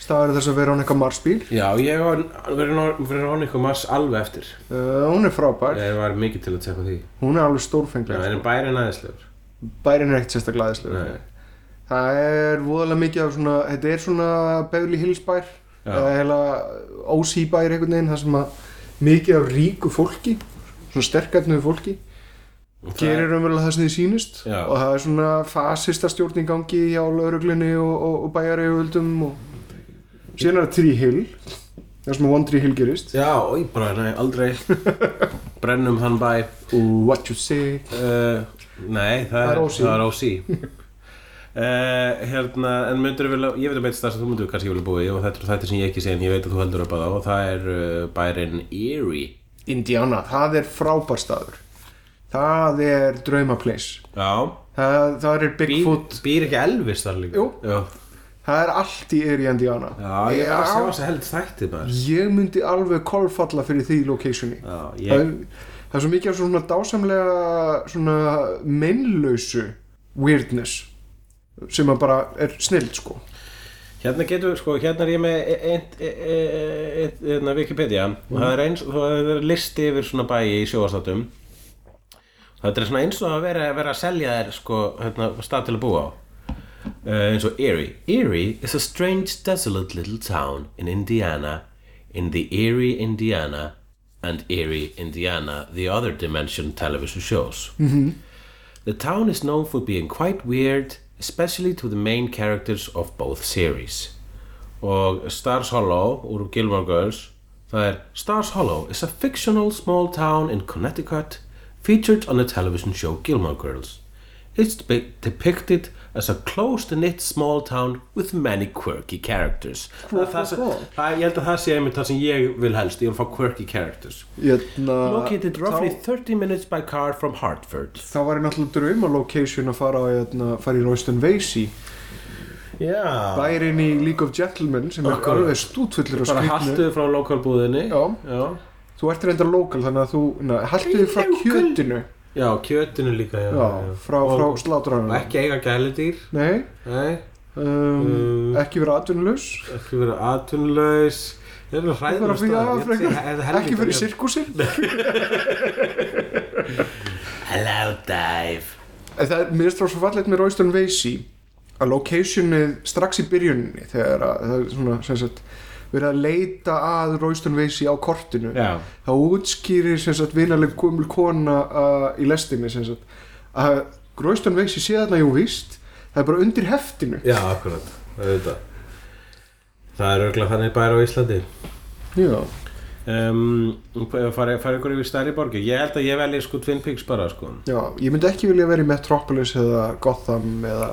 [SPEAKER 1] staður þess að vera hann eitthvað marsbíl
[SPEAKER 2] Já, ég var verið án ykkur mass alveg eftir
[SPEAKER 1] uh, Hún er frábær,
[SPEAKER 2] Ég var mikið til að tjekka því
[SPEAKER 1] hún er alveg
[SPEAKER 2] Það
[SPEAKER 1] stórfenglega
[SPEAKER 2] er bærin aðeinslegur
[SPEAKER 1] Bærin er ekkert sérstaklega aðeinslega
[SPEAKER 2] Nei.
[SPEAKER 1] Það er voðalega mikið af svona, þetta er svona Beverly Hills bær
[SPEAKER 2] Já.
[SPEAKER 1] eða heila OC bær einhvern veginn það sem að mikið af ríku fólki svona sterkarnuðu fólki
[SPEAKER 2] Og það er-
[SPEAKER 1] gerir raunverulega það sem þið sýnist
[SPEAKER 2] Já.
[SPEAKER 1] og það er svona fasista stjórn í gangi hjá lauruglunni og, og, og bæjarauðvöldum og síðan er það Tree Hill það sem að One Tree Hill gerist
[SPEAKER 2] Já, oi, bara, nei, aldrei Brennum þann bæ
[SPEAKER 1] What you say
[SPEAKER 2] uh, Nei, það,
[SPEAKER 1] Það er OC.
[SPEAKER 2] Það er ósí Uh, hérna, en myndur vilja, ég veit um eitt stað sem þú myndur kannski vilja búa í og þetta er þetta sem ég ekki sé en ég veit að þú heldur upp að á og það er uh, bærin Erie
[SPEAKER 1] Indiana, það er frábær staður það er draumaplace
[SPEAKER 2] Já,
[SPEAKER 1] það, það er
[SPEAKER 2] býr,
[SPEAKER 1] Bigfoot
[SPEAKER 2] býr ekki Elvis þar líka
[SPEAKER 1] Jú.
[SPEAKER 2] Já,
[SPEAKER 1] Það er allt í er í Indiana
[SPEAKER 2] Já ég var að sjá
[SPEAKER 1] Já,
[SPEAKER 2] þess að held þætti bara
[SPEAKER 1] Ég myndi alveg kolfalla fyrir því locationi
[SPEAKER 2] Já,
[SPEAKER 1] það,
[SPEAKER 2] ég,
[SPEAKER 1] er, það er svo mikið af svona dásamlega svona meinlausu weirdness sem að bara er snild sko
[SPEAKER 2] Hérna getum við, sko, hérna er ég með e- einn- e- e- einn- hérna Wikipedia og það er eins, það er listi yfir svona bæi í sjóastatum Þetta er svona eins og að vera, vera að selja þér, sko, hérna, stað til að búa á uh, eins og Erie Erie is a strange desolate little town in Indiana in the Erie, Indiana and Erie, Indiana the other dimension television shows The town is known for being quite weird, especially to the main characters of both series. Og Stars Hollow úr Gilmore Girls, það er Stars Hollow is a fictional small town in Connecticut featured on the television show Gilmore Girls. It's depi- depicted as a close-knit small town with many quirky characters. Það, það, sem- það, ég held að það sé einmitt það sem ég vil helst, ég vil fá quirky characters.
[SPEAKER 1] Jötna,
[SPEAKER 2] Located roughly
[SPEAKER 1] Hérna, þá,
[SPEAKER 2] 30 minutes by car from Hartford.
[SPEAKER 1] þá var ég náttúrulega drauma location að fara, á, jötna, fara í Royston Vasey
[SPEAKER 2] Já.
[SPEAKER 1] bærin í League of Gentlemen sem er
[SPEAKER 2] Akkurat.
[SPEAKER 1] alveg stútfullur og
[SPEAKER 2] bara
[SPEAKER 1] skrýtnu
[SPEAKER 2] haltuðu frá lokalbúðinni
[SPEAKER 1] Já,
[SPEAKER 2] já,
[SPEAKER 1] þú ert reyndar lokal þannig að þú, na, haltu þig frá kjötinu
[SPEAKER 2] já kjötinu líka já,
[SPEAKER 1] Já,
[SPEAKER 2] já.
[SPEAKER 1] frá,
[SPEAKER 2] Og-
[SPEAKER 1] frá
[SPEAKER 2] og
[SPEAKER 1] slátranum
[SPEAKER 2] ekki eiga gæludýr
[SPEAKER 1] Nei,
[SPEAKER 2] nei,
[SPEAKER 1] um,
[SPEAKER 2] Mm.
[SPEAKER 1] ekki vera atvinnulegs
[SPEAKER 2] ekki vera atvinnlaus þeir eru
[SPEAKER 1] Ekki
[SPEAKER 2] hræðum
[SPEAKER 1] vera fyrir- frekar. ekki fyrir sirkusir
[SPEAKER 2] hello dive
[SPEAKER 1] En það er mér stráð svo fallegt með Royston Vasey að locationið strax í byrjuninni þegar að, það er svona sem sagt verið að leita að Royston Vasey á kortinu
[SPEAKER 2] já,
[SPEAKER 1] þá útskýrir sem sagt vinaleg gumul kona uh, í lestinni sem sagt að Royston Vasey sé þarna jú víst það er bara undir heftinu
[SPEAKER 2] já akkurat auðvitað það er örgulega þannig bæra á Íslandi
[SPEAKER 1] Já.
[SPEAKER 2] um, farið fari ykkur yfir stærri borgi ég held að ég velji sko Twin Peaks bara sko
[SPEAKER 1] Já, ég myndi ekki vilja vera í Metropolis eða Gotham eða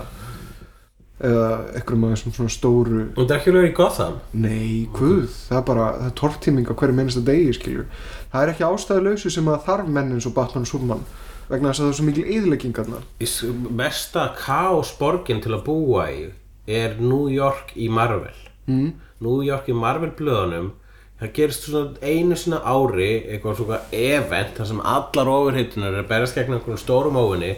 [SPEAKER 1] eða einhverjum af þessum svona stóru
[SPEAKER 2] og það er ekki lögur í Gotham
[SPEAKER 1] Nei, guð, það er bara, það er tortíming á hverju mennsta degi, skiljur. Það er ekki ástæðuleysu sem að þarf menn eins og Batman og Superman vegna þess að það er svo mikil eðleggingarna.
[SPEAKER 2] Í s- mesta kaosborgin til að búa í er New York í Marvel mm. New York í Marvel blöðunum það gerist svona einu sinna ári eitthvað svona event þar sem allar ofurheitunar er að berast gegn einhverjum stórum óvinni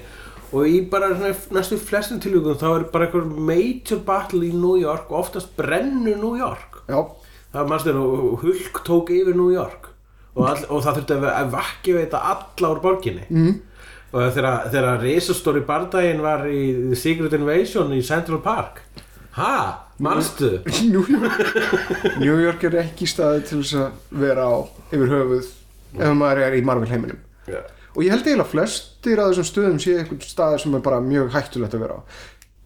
[SPEAKER 2] og í bara svona næstu flestum tilvíkum þá er bara einhver major battle í New York og oftast brennur New York
[SPEAKER 1] Já,
[SPEAKER 2] það mannstu nú, Hulk tók yfir New York og, all, og það þurfti að, að vakki veita alla úr borginni mm. og þegar, þegar risastóri bardaginn var í Secret Invasion í Central Park ha, mannstu
[SPEAKER 1] New York New York er ekki staði til þess að vera á yfir höfuð ef maður er í Marvel heiminum og ég held eiginlega flestir að þessum stöðum sé einhvern staði sem er bara mjög hættulegt að vera á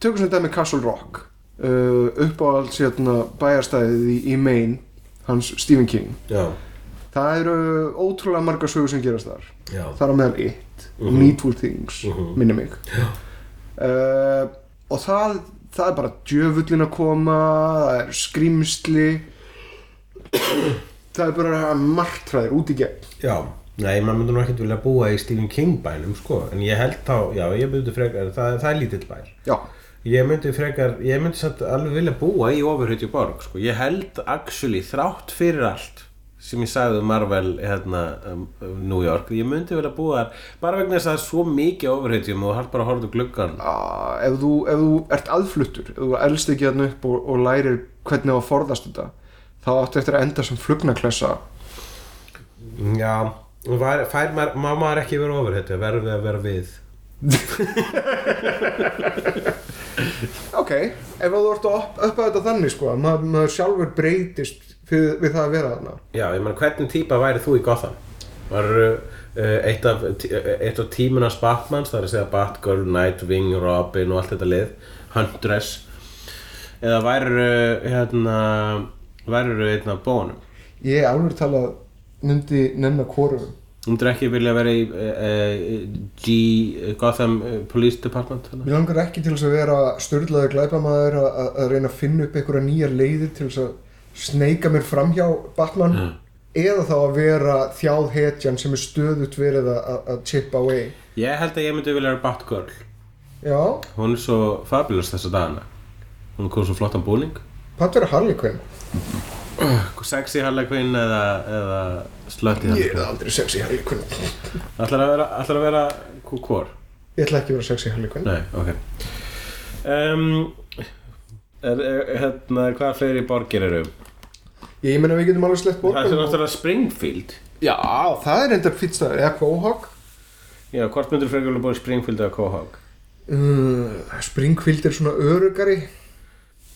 [SPEAKER 1] tökum sem dæmi Castle Rock uh, uppáhalds hérna, bæjarstæðið í, í Maine hans Stephen King
[SPEAKER 2] já,
[SPEAKER 1] það eru ótrúlega margar sögur sem gerast þar
[SPEAKER 2] já,
[SPEAKER 1] þar á meðal It, Needful Things minni mig uh, og það það er bara djöfullin að koma það er skrýmsli það er bara martræðir út í gegn
[SPEAKER 2] já Nei, maður myndur nú ekkert vilja búa í Stephen King bænum, sko, en ég held þá, já, ég myndi frekar, það, það er lítill bær.
[SPEAKER 1] já,
[SPEAKER 2] Ég myndi frekar, ég myndi samt alveg vilja búa í ofurhutju borg, sko. Ég held actually þrátt fyrir allt sem ég sagði um Marvel hérna um, um New York, ég myndi vilja búa þar bara vegna þess að það er svo mikið ofurhutjum og þú hægt bara að horfa út úr gluggan.
[SPEAKER 1] uh, ef, þú, ef þú ert aðfluttur ef þú elst ekki þarna upp og, og lærir hvernig á að forðast þetta þá áttu eftir að enda sem flugnaklessa
[SPEAKER 2] Já, var, fær maður, má maður ekki vera ofurhutju, verður að vera við.
[SPEAKER 1] ok, ef þú ert að upp- uppa þetta þannig sko, að maður, maður sjálfur breytist fyrir, við það að vera þarna
[SPEAKER 2] Já, ég meina, hvernig típa væri þú í Gotham? Var uh, eitt, af, tí- eh, eitt af tímunars Batmans, það er að segja Batgirl, Nightwing, Robin og allt þetta lið, Huntress eða væri hérna, væri einn af bónum
[SPEAKER 1] Ég alveg talað myndi nefna kórum
[SPEAKER 2] Þú myndir ekki vilja vera í uh, G, Gotham eh, Police Department hana?
[SPEAKER 1] Mér langar ekki til þess að vera störðlaði glæpamaður að- að að reyna að finna upp einhverja nýjar leiðir til þess að sneika mér fram hjá Batman eða þá að vera þjáð hetjan sem er stöðut verið að- að að chip away
[SPEAKER 2] Ég held að ég myndi vilja vera Batgirl
[SPEAKER 1] Já,
[SPEAKER 2] Hún er svo fabulous þessa dagana Hún er komið svo flottan búning
[SPEAKER 1] hvað verður Harley Quinn?
[SPEAKER 2] Sexy Harley Quinn eða, eða slötti
[SPEAKER 1] Ég er aldrei sexy Harley Quinn
[SPEAKER 2] Ætlar að vera, ætlar að vera hv- hvor?
[SPEAKER 1] Ég ætla ekki að vera sexy Harley Quinn
[SPEAKER 2] Nei, ok um, er, er, hérna, Hvað fleiri borgir eru?
[SPEAKER 1] Ég meina við getum alveg slett
[SPEAKER 2] Það er
[SPEAKER 1] borgum og-
[SPEAKER 2] náttúrulega Springfield
[SPEAKER 1] Já, það er enda fyrstæður eða Quahog
[SPEAKER 2] Já, hvort myndur frekar vilja búið í Springfield eða Quahog?
[SPEAKER 1] uh, Springfield er svona örugari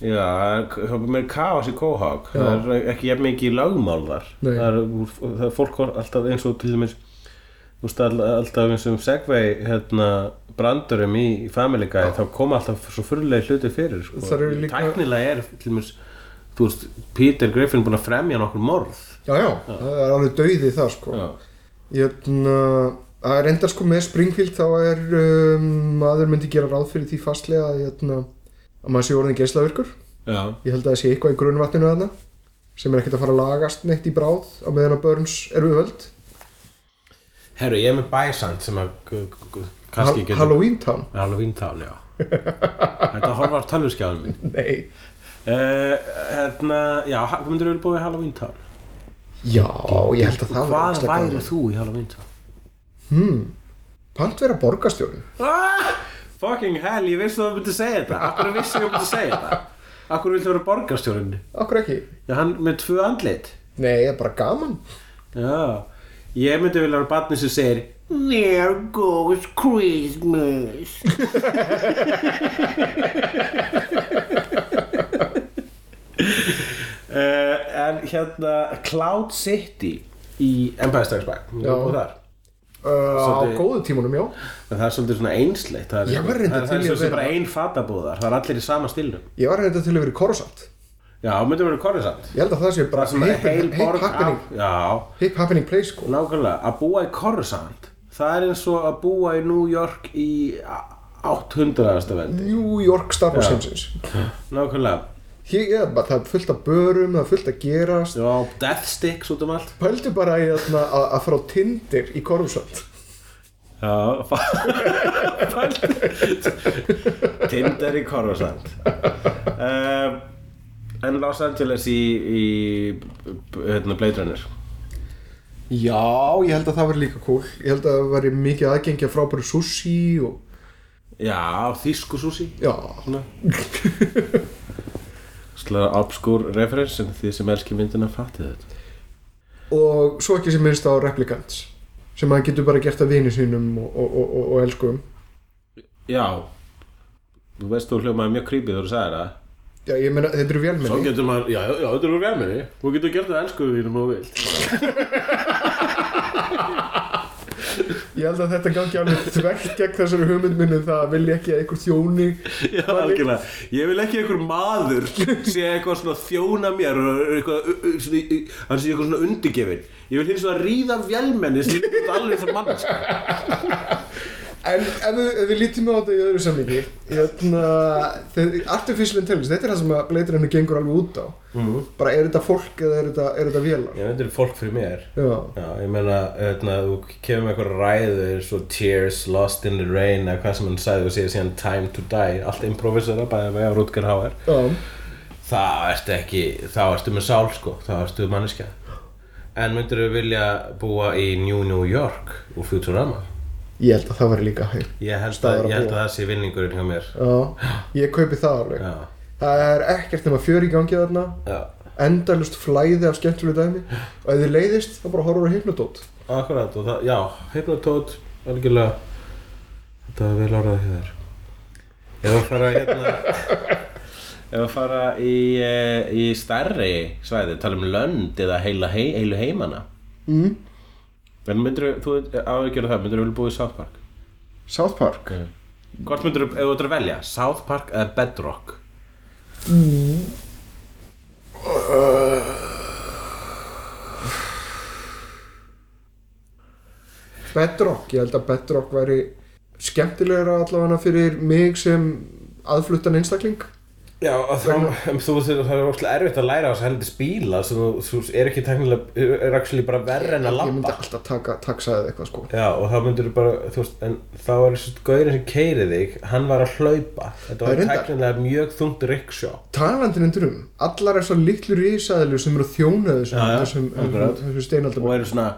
[SPEAKER 2] Já, það er- það er meira kaos í Quahog Það er ekki jafn mikið lagmál þar
[SPEAKER 1] Nei.
[SPEAKER 2] það er, það er fólk var alltaf eins og til dæmis Þú veist all- alltaf eins og um Segway hérna, brandurum í í Family Guy þá koma alltaf svo fyrirlega hluti fyrir sko.
[SPEAKER 1] Þar eru líka-
[SPEAKER 2] Tæknilega er til dæmis þú veist, Peter Griffin búin að fremja nokkur morð
[SPEAKER 1] Já, já, það er alveg dauði það sko
[SPEAKER 2] Já,
[SPEAKER 1] Jötna, það er enda sko með Springfield þá er um, maður myndi gera ráð fyrir því fastlega að, jötna, að maður sé orðin geislavirkur
[SPEAKER 2] já,
[SPEAKER 1] ég held að það sé eitthvað í grunnvatninu þarna sem er ekkert að fara að lagast neitt í bráð á meðan að Burns er við völd
[SPEAKER 2] Herru, ég er með bæsand sem að g- g- g- kannski
[SPEAKER 1] Hall Halloween Town
[SPEAKER 2] Halloween Town, já Þetta horfar tölvuskjáðum minn
[SPEAKER 1] Nei
[SPEAKER 2] Uh, hérna, já, ha- hvað myndir þú búið í Halloween Town?
[SPEAKER 1] Já, ég held að það
[SPEAKER 2] Hvað
[SPEAKER 1] ógeðslega
[SPEAKER 2] væri
[SPEAKER 1] gaman.
[SPEAKER 2] þú í Halloween Town?
[SPEAKER 1] Pant vera borgarstjórn
[SPEAKER 2] Ah, fucking hell, ég vissi að þú myndi segja þetta Akkur vissi að þú myndi segja þetta Akkur viltu vera borgarstjórinn?
[SPEAKER 1] Okkur ekki
[SPEAKER 2] Já, hann með tvö andlit
[SPEAKER 1] Nei, ég er bara gaman
[SPEAKER 2] Já, ég myndi vilja vera barni sem segir "Mm." There goes Christmas uh, En hérna Cloud City í Empire Strikes Back Þú
[SPEAKER 1] Já.
[SPEAKER 2] hefur búið þar.
[SPEAKER 1] uh, Á
[SPEAKER 2] Svolítið-
[SPEAKER 1] góðu tímunum, já
[SPEAKER 2] En það er svolítið svona einsleitt Það
[SPEAKER 1] Ég
[SPEAKER 2] er,
[SPEAKER 1] var reyndar
[SPEAKER 2] það er, það
[SPEAKER 1] til í að
[SPEAKER 2] er svolítið
[SPEAKER 1] vera-
[SPEAKER 2] bara ein fatabúðar Það er allir í sama stilnum
[SPEAKER 1] Ég var reynda til að vera í Coruscant
[SPEAKER 2] Já, myndum vera korrisamt
[SPEAKER 1] Ég held að það sé bara
[SPEAKER 2] Það sem er heil
[SPEAKER 1] hip- hip
[SPEAKER 2] borg
[SPEAKER 1] happening,
[SPEAKER 2] af- Já,
[SPEAKER 1] hip happening place sko
[SPEAKER 2] Nákvæmlega, að búa í Coruscant Það er eins og að búa í New York í 800. veldi
[SPEAKER 1] New York Star Wars
[SPEAKER 2] Já.
[SPEAKER 1] heimsins
[SPEAKER 2] Nákvæmlega
[SPEAKER 1] Hér, ja, bara, það er fullt af börum, það er fullt að gerast
[SPEAKER 2] Já, Death Sticks út um allt
[SPEAKER 1] Pældu bara í þarna að að fara á Tinder í Coruscant
[SPEAKER 2] Já, fælt Tinder í Coruscant um, En Los Angeles í, í hérna, Blade Runner
[SPEAKER 1] Já, ég held að það var líka cool Ég held að það væri mikið aðgengi að frábæru sushi og...
[SPEAKER 2] Já, þýsku sushi
[SPEAKER 1] Já,
[SPEAKER 2] Svona
[SPEAKER 4] ógstlega obskúr referens en þið sem elski myndina fattið þetta
[SPEAKER 1] og svo ekki sem minnst á replikants sem hann getur bara gert að vini sínum og, og, og, og, og elskum
[SPEAKER 4] Já Þú veist þú hljómaði mjög creepy þegar þú sagði það
[SPEAKER 1] já, ég meina, þetta eru
[SPEAKER 4] Svo
[SPEAKER 1] vélmenni
[SPEAKER 4] getur maður, já, já, já, þetta er úr velminni Þú getur gert það elskuðu þínum og þú vilt
[SPEAKER 1] ég held að þetta gangi alveg þvert gegn þessari hugmyndminni það vil ég ekki að einhver þjóni
[SPEAKER 4] Já, algjörlega Ég vil ekki einhver maður sé eitthvað svona þjóna mér og eitthvað, u- u- svona, í- í- hann sé eitthvað svona undirgefin Ég vil hins vegar ríða velmenni sem lítur út alveg sem mann sko.
[SPEAKER 1] En ef við, ef við lítum á þetta í öðru samlingi Jörna, Artificial Intelligence, þetta er það sem að bleitir hennu gengur alveg út á Bara er þetta fólk eða er þetta, er þetta vélar?
[SPEAKER 4] Mhm. Já, þetta er fólk fyrir mér
[SPEAKER 1] Já,
[SPEAKER 4] Já, ég meina, hérna, þú kemur með eitthvað ræðu eins og Tears, Lost in the Rain eða hvað sem hann sagði og segir síðan Time to Die allt improvisera, bæði með að Rutger Hauer
[SPEAKER 1] já,
[SPEAKER 4] þá ertu ekki, þá ertu með sál sko, þá ertu manneskja en myndirðu vilja búa í New New York úr Futurama
[SPEAKER 1] ég held að það væri líka hægt
[SPEAKER 4] ég held
[SPEAKER 1] Staðar
[SPEAKER 4] að,
[SPEAKER 1] að
[SPEAKER 4] ég held
[SPEAKER 1] búa.
[SPEAKER 4] að það sé vinningurinn hjá mér
[SPEAKER 1] Já, ég kaupi það alveg
[SPEAKER 4] Já,
[SPEAKER 1] Það er ekkert nema fjör í gangi þarna
[SPEAKER 4] já,
[SPEAKER 1] Endalust flæði af skemmtilegu dæmi Og ef þið leiðist, þá bara horfur á hypnotót
[SPEAKER 4] akkurat og það, já, hypnotót, algjörlega þetta er vel orðað hjá þér Ég var að fara hérna Ég var að fara í, eh, í stærri svæði, tala um lönd eða heila hei, heilu heimana
[SPEAKER 1] mm.
[SPEAKER 4] En myndir þú, á að gera það, myndir þú vilja búið í South Park?
[SPEAKER 1] South Park
[SPEAKER 4] Hvort myndir þú, ef þú ættir að velja, South Park eða Bedrock?
[SPEAKER 1] Eh. Bedrock, ég held að Bedrock væri skemmtilegra allavega fyrir mig sem aðfluttan einstakling
[SPEAKER 4] Já, og þá, en þú veist, það er óslega erfitt að læra á þess að heldur spíla sem þú, þú er ekki teknilega, er actually bara verri en að
[SPEAKER 1] Ég myndi
[SPEAKER 4] labba
[SPEAKER 1] alltaf taka taksaðið eitthvað sko
[SPEAKER 4] Já, og þá myndir þú bara, þú veist, en þá er þessi gaurinn sem keiri þig, hann var að hlaupa Þetta
[SPEAKER 1] Það er
[SPEAKER 4] var
[SPEAKER 1] reyndar.
[SPEAKER 4] teknilega mjög þungt rikksjó
[SPEAKER 1] Talandin endur um, allar er svo litlu risaðilu sem eru að þjóna þessum,
[SPEAKER 4] Já, já,
[SPEAKER 1] þessum,
[SPEAKER 4] akkurat.
[SPEAKER 1] þessum, þessum steinaldum
[SPEAKER 4] og eru svona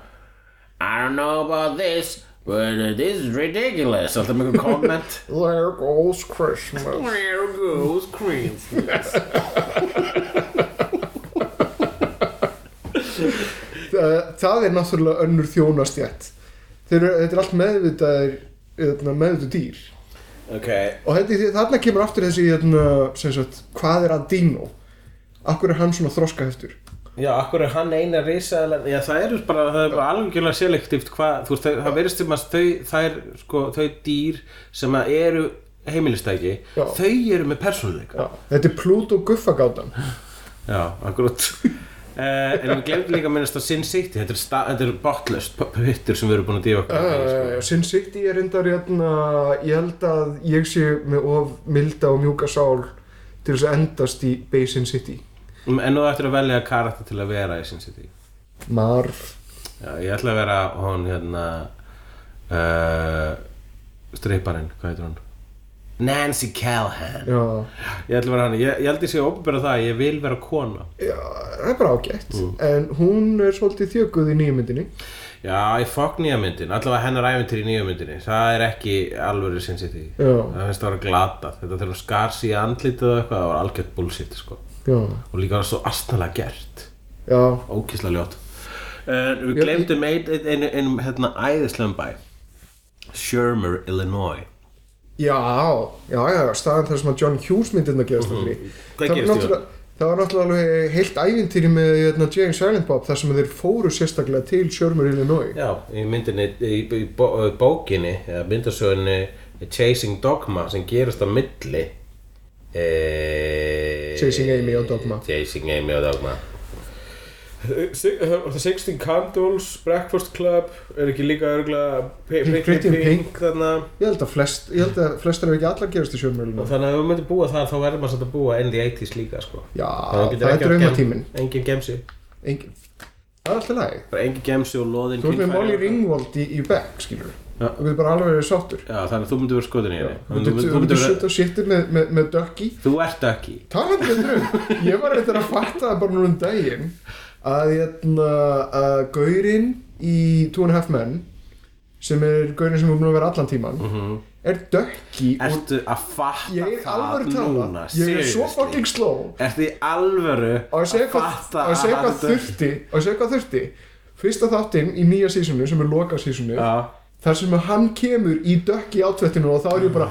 [SPEAKER 4] I don't know about this but this is ridiculous alltaf með einhver komment
[SPEAKER 1] There goes Christmas
[SPEAKER 4] There goes Christmas
[SPEAKER 1] Það, Eh, það er náttúrulega önnur þjónastjætt Þeir eru, Þetta er allt meðvitaðir hérna, meðvituð dýr
[SPEAKER 4] Ok,
[SPEAKER 1] og þetta, er- þarna kemur aftur þessi hérna, sem sagt, hvað er að dýno Akkur er hann svona þroska heftur
[SPEAKER 4] já, akkur er hann eina risaðilega Já, það eru bara, það er bara algjörlega selektíft hvað, þú veist, það- það verðist um að þau, það er, sko, þau dýr sem að eru heimilistæki
[SPEAKER 1] Já.
[SPEAKER 4] þau eru með persónuleika
[SPEAKER 1] Þetta er Pluto guffagátan
[SPEAKER 4] Já, akkurat uh, En við glemdum líka að minnast að Sin City Þetta er, sta- þetta er botlaust hittur sem við erum búin að dýfa okkur í, sko.
[SPEAKER 1] Uh, Sin City er reyndar hérna, ég held að ég sé með of milda og mjúka sál til þess að endast í Bay Sin City
[SPEAKER 4] Mm, En nú ættir að velja karakter til að vera í Sin City
[SPEAKER 1] Marv
[SPEAKER 4] Já, ég ætla að vera hún hérna uh, Stripparinn, hvað heitir hún? Nancy Callahan
[SPEAKER 1] já,
[SPEAKER 4] Ég ætla að vera hann, ég, ég held ég sé opinbera það að Ég vil vera kona
[SPEAKER 1] já, það er bara ágætt
[SPEAKER 4] Mm.
[SPEAKER 1] en hún er svolítið þjökuð í nýjumyndinni
[SPEAKER 4] Já, ég fokk nýja myndin, allavega hennar æfintir í nýja myndinni Það er ekki alvöru Sin City
[SPEAKER 1] Já.
[SPEAKER 4] Það finnst það að vera glatað Þetta þegar hún skar sig í andlitið og eitthvað Það var algjört bullshit, sko
[SPEAKER 1] já,
[SPEAKER 4] og líka svo astnalega gert
[SPEAKER 1] já,
[SPEAKER 4] ókísla ljót uh, við
[SPEAKER 1] Já,
[SPEAKER 4] glemdum ein- ein- einum ein, ein, hérna æðislegum bæ Shermer, Illinois
[SPEAKER 1] já, já, já staðan þar sem að John Hughes myndirna gerast mm -hmm.
[SPEAKER 4] Mhm. Hvað gerist í
[SPEAKER 1] það var náttúrulega alveg heilt ævintýri með hérna, Jane Silent Bob þar sem þeir fóru sérstaklega til Shermer Illinois
[SPEAKER 4] já, í myndinni, í, í bó, bókinni eða myndasögunni Chasing Dogma sem gerist á milli e,
[SPEAKER 1] Chasing Amy og Dogma.
[SPEAKER 4] Chasing Amy og Dogma
[SPEAKER 1] eh,
[SPEAKER 4] The Sixteen Candles Breakfast Club er ekki líka örgulega
[SPEAKER 1] Pretty Pretty Pink Pink
[SPEAKER 4] þarna
[SPEAKER 1] ég held að, flest, ég held að flestar ef ekki allar gerast í Shermer
[SPEAKER 4] Og
[SPEAKER 1] Illinois
[SPEAKER 4] þannig að ef við myndum búa þar þá verður maður samt að búa in the 80s líka sko.
[SPEAKER 1] já,
[SPEAKER 4] Þá
[SPEAKER 1] það,
[SPEAKER 4] getur
[SPEAKER 1] er
[SPEAKER 4] ekki að
[SPEAKER 1] draumatíminn
[SPEAKER 4] gem- Engin gemsi
[SPEAKER 1] Engin. það er alltaf lagi
[SPEAKER 4] Bara engin gemsi og loðin
[SPEAKER 1] þú er með
[SPEAKER 4] kynfæri.
[SPEAKER 1] Molly Ringwald í, í back skilur
[SPEAKER 4] Já.
[SPEAKER 1] þú getur bara alveg verið sáttur
[SPEAKER 4] Já, þannig að þú myndir vera skotin í henni
[SPEAKER 1] þú myndir- þú myndir setja sittir með, með, með Ducky
[SPEAKER 4] Þú ert ekki
[SPEAKER 1] talandi um draum ég var reyndar að fatta það bara núna um daginn að, hérna, að gaurinn í Two and a Half Men sem er gaurinn sem er búin að vera allan tíman er dökki og
[SPEAKER 2] Ertu að fatta
[SPEAKER 1] ég er
[SPEAKER 2] það
[SPEAKER 1] alveg tala,
[SPEAKER 2] núna?
[SPEAKER 1] ég er svo
[SPEAKER 2] Seriously?
[SPEAKER 1] fucking slow
[SPEAKER 2] Ertu í alvöru
[SPEAKER 1] og að segja hvað,
[SPEAKER 2] fatta
[SPEAKER 1] og að segja
[SPEAKER 2] hann
[SPEAKER 1] hvað
[SPEAKER 2] dör-
[SPEAKER 1] þurfti og að segja hvað þurfti fyrsta þáttinn í nýja sísonu sem er loka sísonu
[SPEAKER 2] Já,
[SPEAKER 1] þar sem hann kemur í dökki átvettinu og þá er ég bara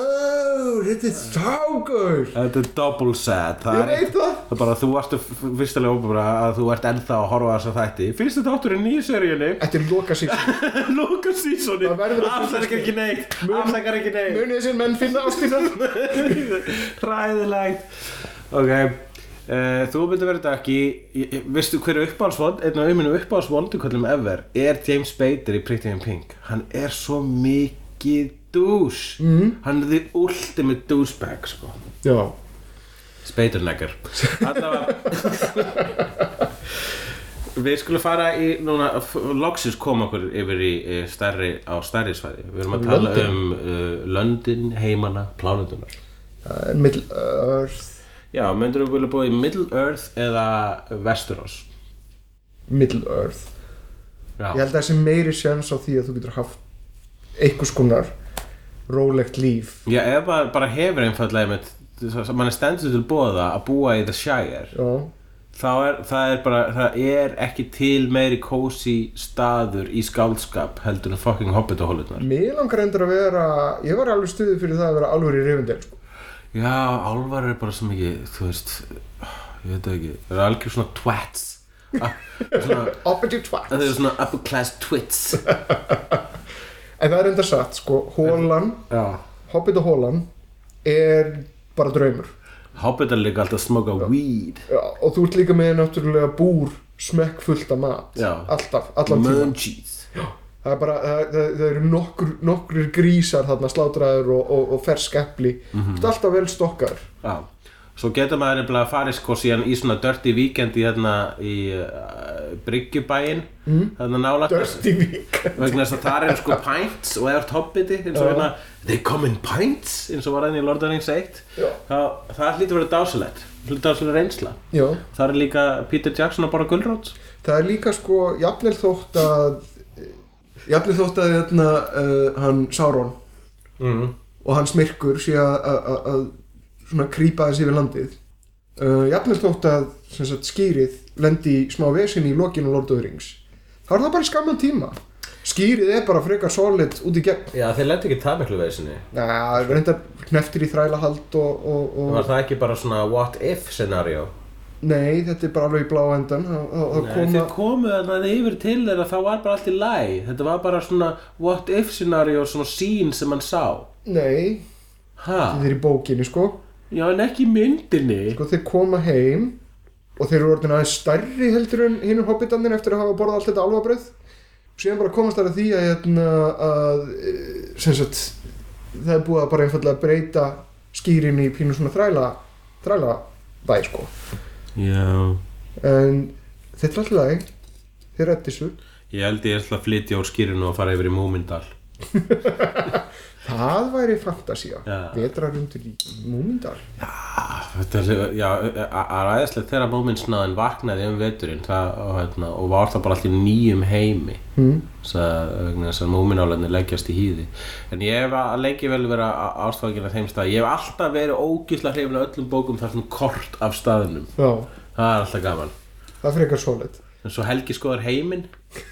[SPEAKER 1] oh, þetta er ságur
[SPEAKER 2] þetta er double sad Það
[SPEAKER 1] ég
[SPEAKER 2] er
[SPEAKER 1] veit það
[SPEAKER 2] Það er bara, þú varst fyrstilega opabra að þú ert ennþá að horfa á þessa þætti Fyrsti þátturinn í seríunni
[SPEAKER 1] Þetta er loka sísonu
[SPEAKER 2] Loka sísoni
[SPEAKER 1] Það verður að-
[SPEAKER 2] Afsakar ekki neitt Afsakar ekki neitt
[SPEAKER 1] munið þessir menn finna ástina
[SPEAKER 2] Ræðilegt Ok Uh, þú myndir verið ekki, ég- ég- veistu hverju uppáhaldsvond, einn af auðminu uppáhaldsvonduköllum ever er James Bader í Pretty in Pink. Hann er svo mikið dús.
[SPEAKER 1] Mhm.
[SPEAKER 2] Mm. Hann er því ultimate douchebag, sko.
[SPEAKER 1] já
[SPEAKER 2] Speiturneggar Allavega Við skulum fara í núna, f- loksins koma okkur yfir í eh, stærri, á stærri svæði Við erum að tala
[SPEAKER 1] Löndin.
[SPEAKER 2] um uh, löndin, heimana, plánutunar
[SPEAKER 1] Það er middle earth
[SPEAKER 2] Já, myndur við vilja búa í Middle Earth eða Westeros
[SPEAKER 1] middle earth
[SPEAKER 2] Já,
[SPEAKER 1] ég held að það sé meiri sjans á því að þú getur haft einhvers konar rólegt líf
[SPEAKER 2] Já eða bara, bara hefur einfallega með mann er stendur til bóða að búa í The Shire
[SPEAKER 1] já,
[SPEAKER 2] þá er, það er bara, það er ekki til meiri kósi staður í skáldskap heldur en fucking hobbitahólunar
[SPEAKER 1] mér langar endur að vera ég var alveg stuðið fyrir það að vera alveg í reyfindel sko.
[SPEAKER 2] Já, álvar er bara svo mikið, þú veist, ég veit það ekki, það er algjör svona twats, Ah, svona,
[SPEAKER 1] opposite twat
[SPEAKER 2] það eru svona upper class twits.
[SPEAKER 1] en það er enda satt sko, hólan,
[SPEAKER 2] Já.
[SPEAKER 1] hobbit og hólan er bara draumur
[SPEAKER 2] Hobbitar líka alltaf að smoka weed,
[SPEAKER 1] Já, og þú ert líka með náttúrulega búr smekk fullt af mat
[SPEAKER 2] Já.
[SPEAKER 1] alltaf, allan tíma
[SPEAKER 2] munchies.
[SPEAKER 1] það, er bara, það, það, það eru nokkur, nokkur grísar þarna slátraður og, og, og fersk epli mm -hmm. alltaf vel stokkar
[SPEAKER 2] Já, svo getur maður nefnilega að fara í sko síðan í svona dirty weekend í þarna í uh, Bryggjubæin, mm. þarna nálægt.
[SPEAKER 1] Dirty Week
[SPEAKER 2] vegna þess að þar eru sko pints og eða hobbiti eins og hérna they come in pints eins og var hann í Lord of the Rings 1
[SPEAKER 1] Já.
[SPEAKER 2] það, það hlýtur að vera dásalett hlýtur dásalett reynsla
[SPEAKER 1] Já,
[SPEAKER 2] þar er líka Peter Jackson að bara gullrót
[SPEAKER 1] það er líka sko jafnvel þótt að jafnvel þótt að hérna, uh, hann Sauron
[SPEAKER 2] mm.
[SPEAKER 1] og hann smirkur sé að- að að- að svona krýpa þessi yfir landið uh, jafnvel þótt að sem sagt, skýrið lendi í smá vesin í lokinu Lord of the Rings þá er það bara skamman tíma skýrið er bara frekar solid út í gegn
[SPEAKER 2] já þeir lendi ekki það miklu veisinni
[SPEAKER 1] Næ, reyndar kneftir í þrælahald og, og, og...
[SPEAKER 2] það ekki bara svona what if scenario
[SPEAKER 1] nei, þetta er bara alveg í blá endan þá- þá þá
[SPEAKER 2] Nei,
[SPEAKER 1] koma
[SPEAKER 2] þeir komu þarna yfir til þeirra þá var bara allt í læ þetta var bara svona what if scenario svona scene sem hann sá
[SPEAKER 1] nei,
[SPEAKER 2] ha?
[SPEAKER 1] þetta er í bókinni sko
[SPEAKER 2] já en ekki í myndinni
[SPEAKER 1] sko þeir koma heim og þeir eru orðin aðeins stærri heldur en hinnum hobbitannin eftir að hafa borðað allt þetta alvabröð síðan bara komast þær að því að, hérna, að eh, sem sagt það er búið að bara einfallega breyta skýrin í pínu svona þræla þræla bæ sko
[SPEAKER 2] já
[SPEAKER 1] en þetta er alltaf læg þeir rætti þessu
[SPEAKER 2] Ég held ég ætla að flytja úr skýrinu og fara yfir í Múmindal.
[SPEAKER 1] það væri fantasía
[SPEAKER 2] Já.
[SPEAKER 1] vetrar undir í múmindar
[SPEAKER 2] Þetta er, já, að ræðislega þegar Múmindsnaðin vaknaði um veturinn það, og, hérna, og var það bara allir nýjum heimi
[SPEAKER 1] hmm.
[SPEAKER 2] þess að Múmindálarnir leggjast í hýði. En ég hef að lengi vel vera ástofaginn af þeim stað. Ég hef alltaf verið ógísla hrifin af öllum bókum þar sem kort af staðunum.
[SPEAKER 1] já,
[SPEAKER 2] Það er alltaf gaman.
[SPEAKER 1] það er frekar svolít
[SPEAKER 2] En svo Helgi skoðar heiminn,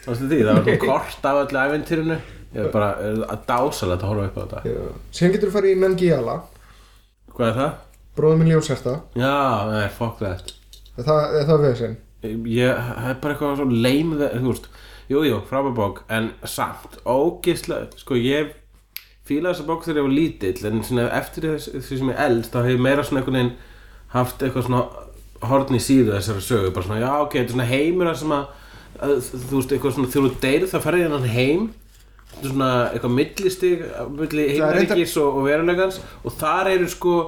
[SPEAKER 2] ástu því, það var svona kort af öllu æventýrinu. Ég er bara að dásalega að horfa upp á þetta.
[SPEAKER 1] síðan getur þú farið í Nangiala
[SPEAKER 2] Hvað er það?
[SPEAKER 1] bróðum minn ljósherta
[SPEAKER 2] Já, nei, fuck that.
[SPEAKER 1] það, það er vesinn
[SPEAKER 2] ég, það er bara eitthvað svo leim það- þú veist, jújú, jú, frábær bók en samt, ógislega sko ég fílaði þessa bók þegar ég var lítill en svona, eftir þess, því sem ég elst þá hef ég meira svona einhvern veginn haft eitthvað svona horn í síðu þessari sögu bara svona, já ok, þetta er svona heimur þar sem að, að þú veist, eitthvað svona þegar þú deyrir þá ferði hennan heim þetta er svona eitthvað millistig milli
[SPEAKER 1] Það er reyndar-
[SPEAKER 2] heimaríkis og, og verulegans og þar eru sko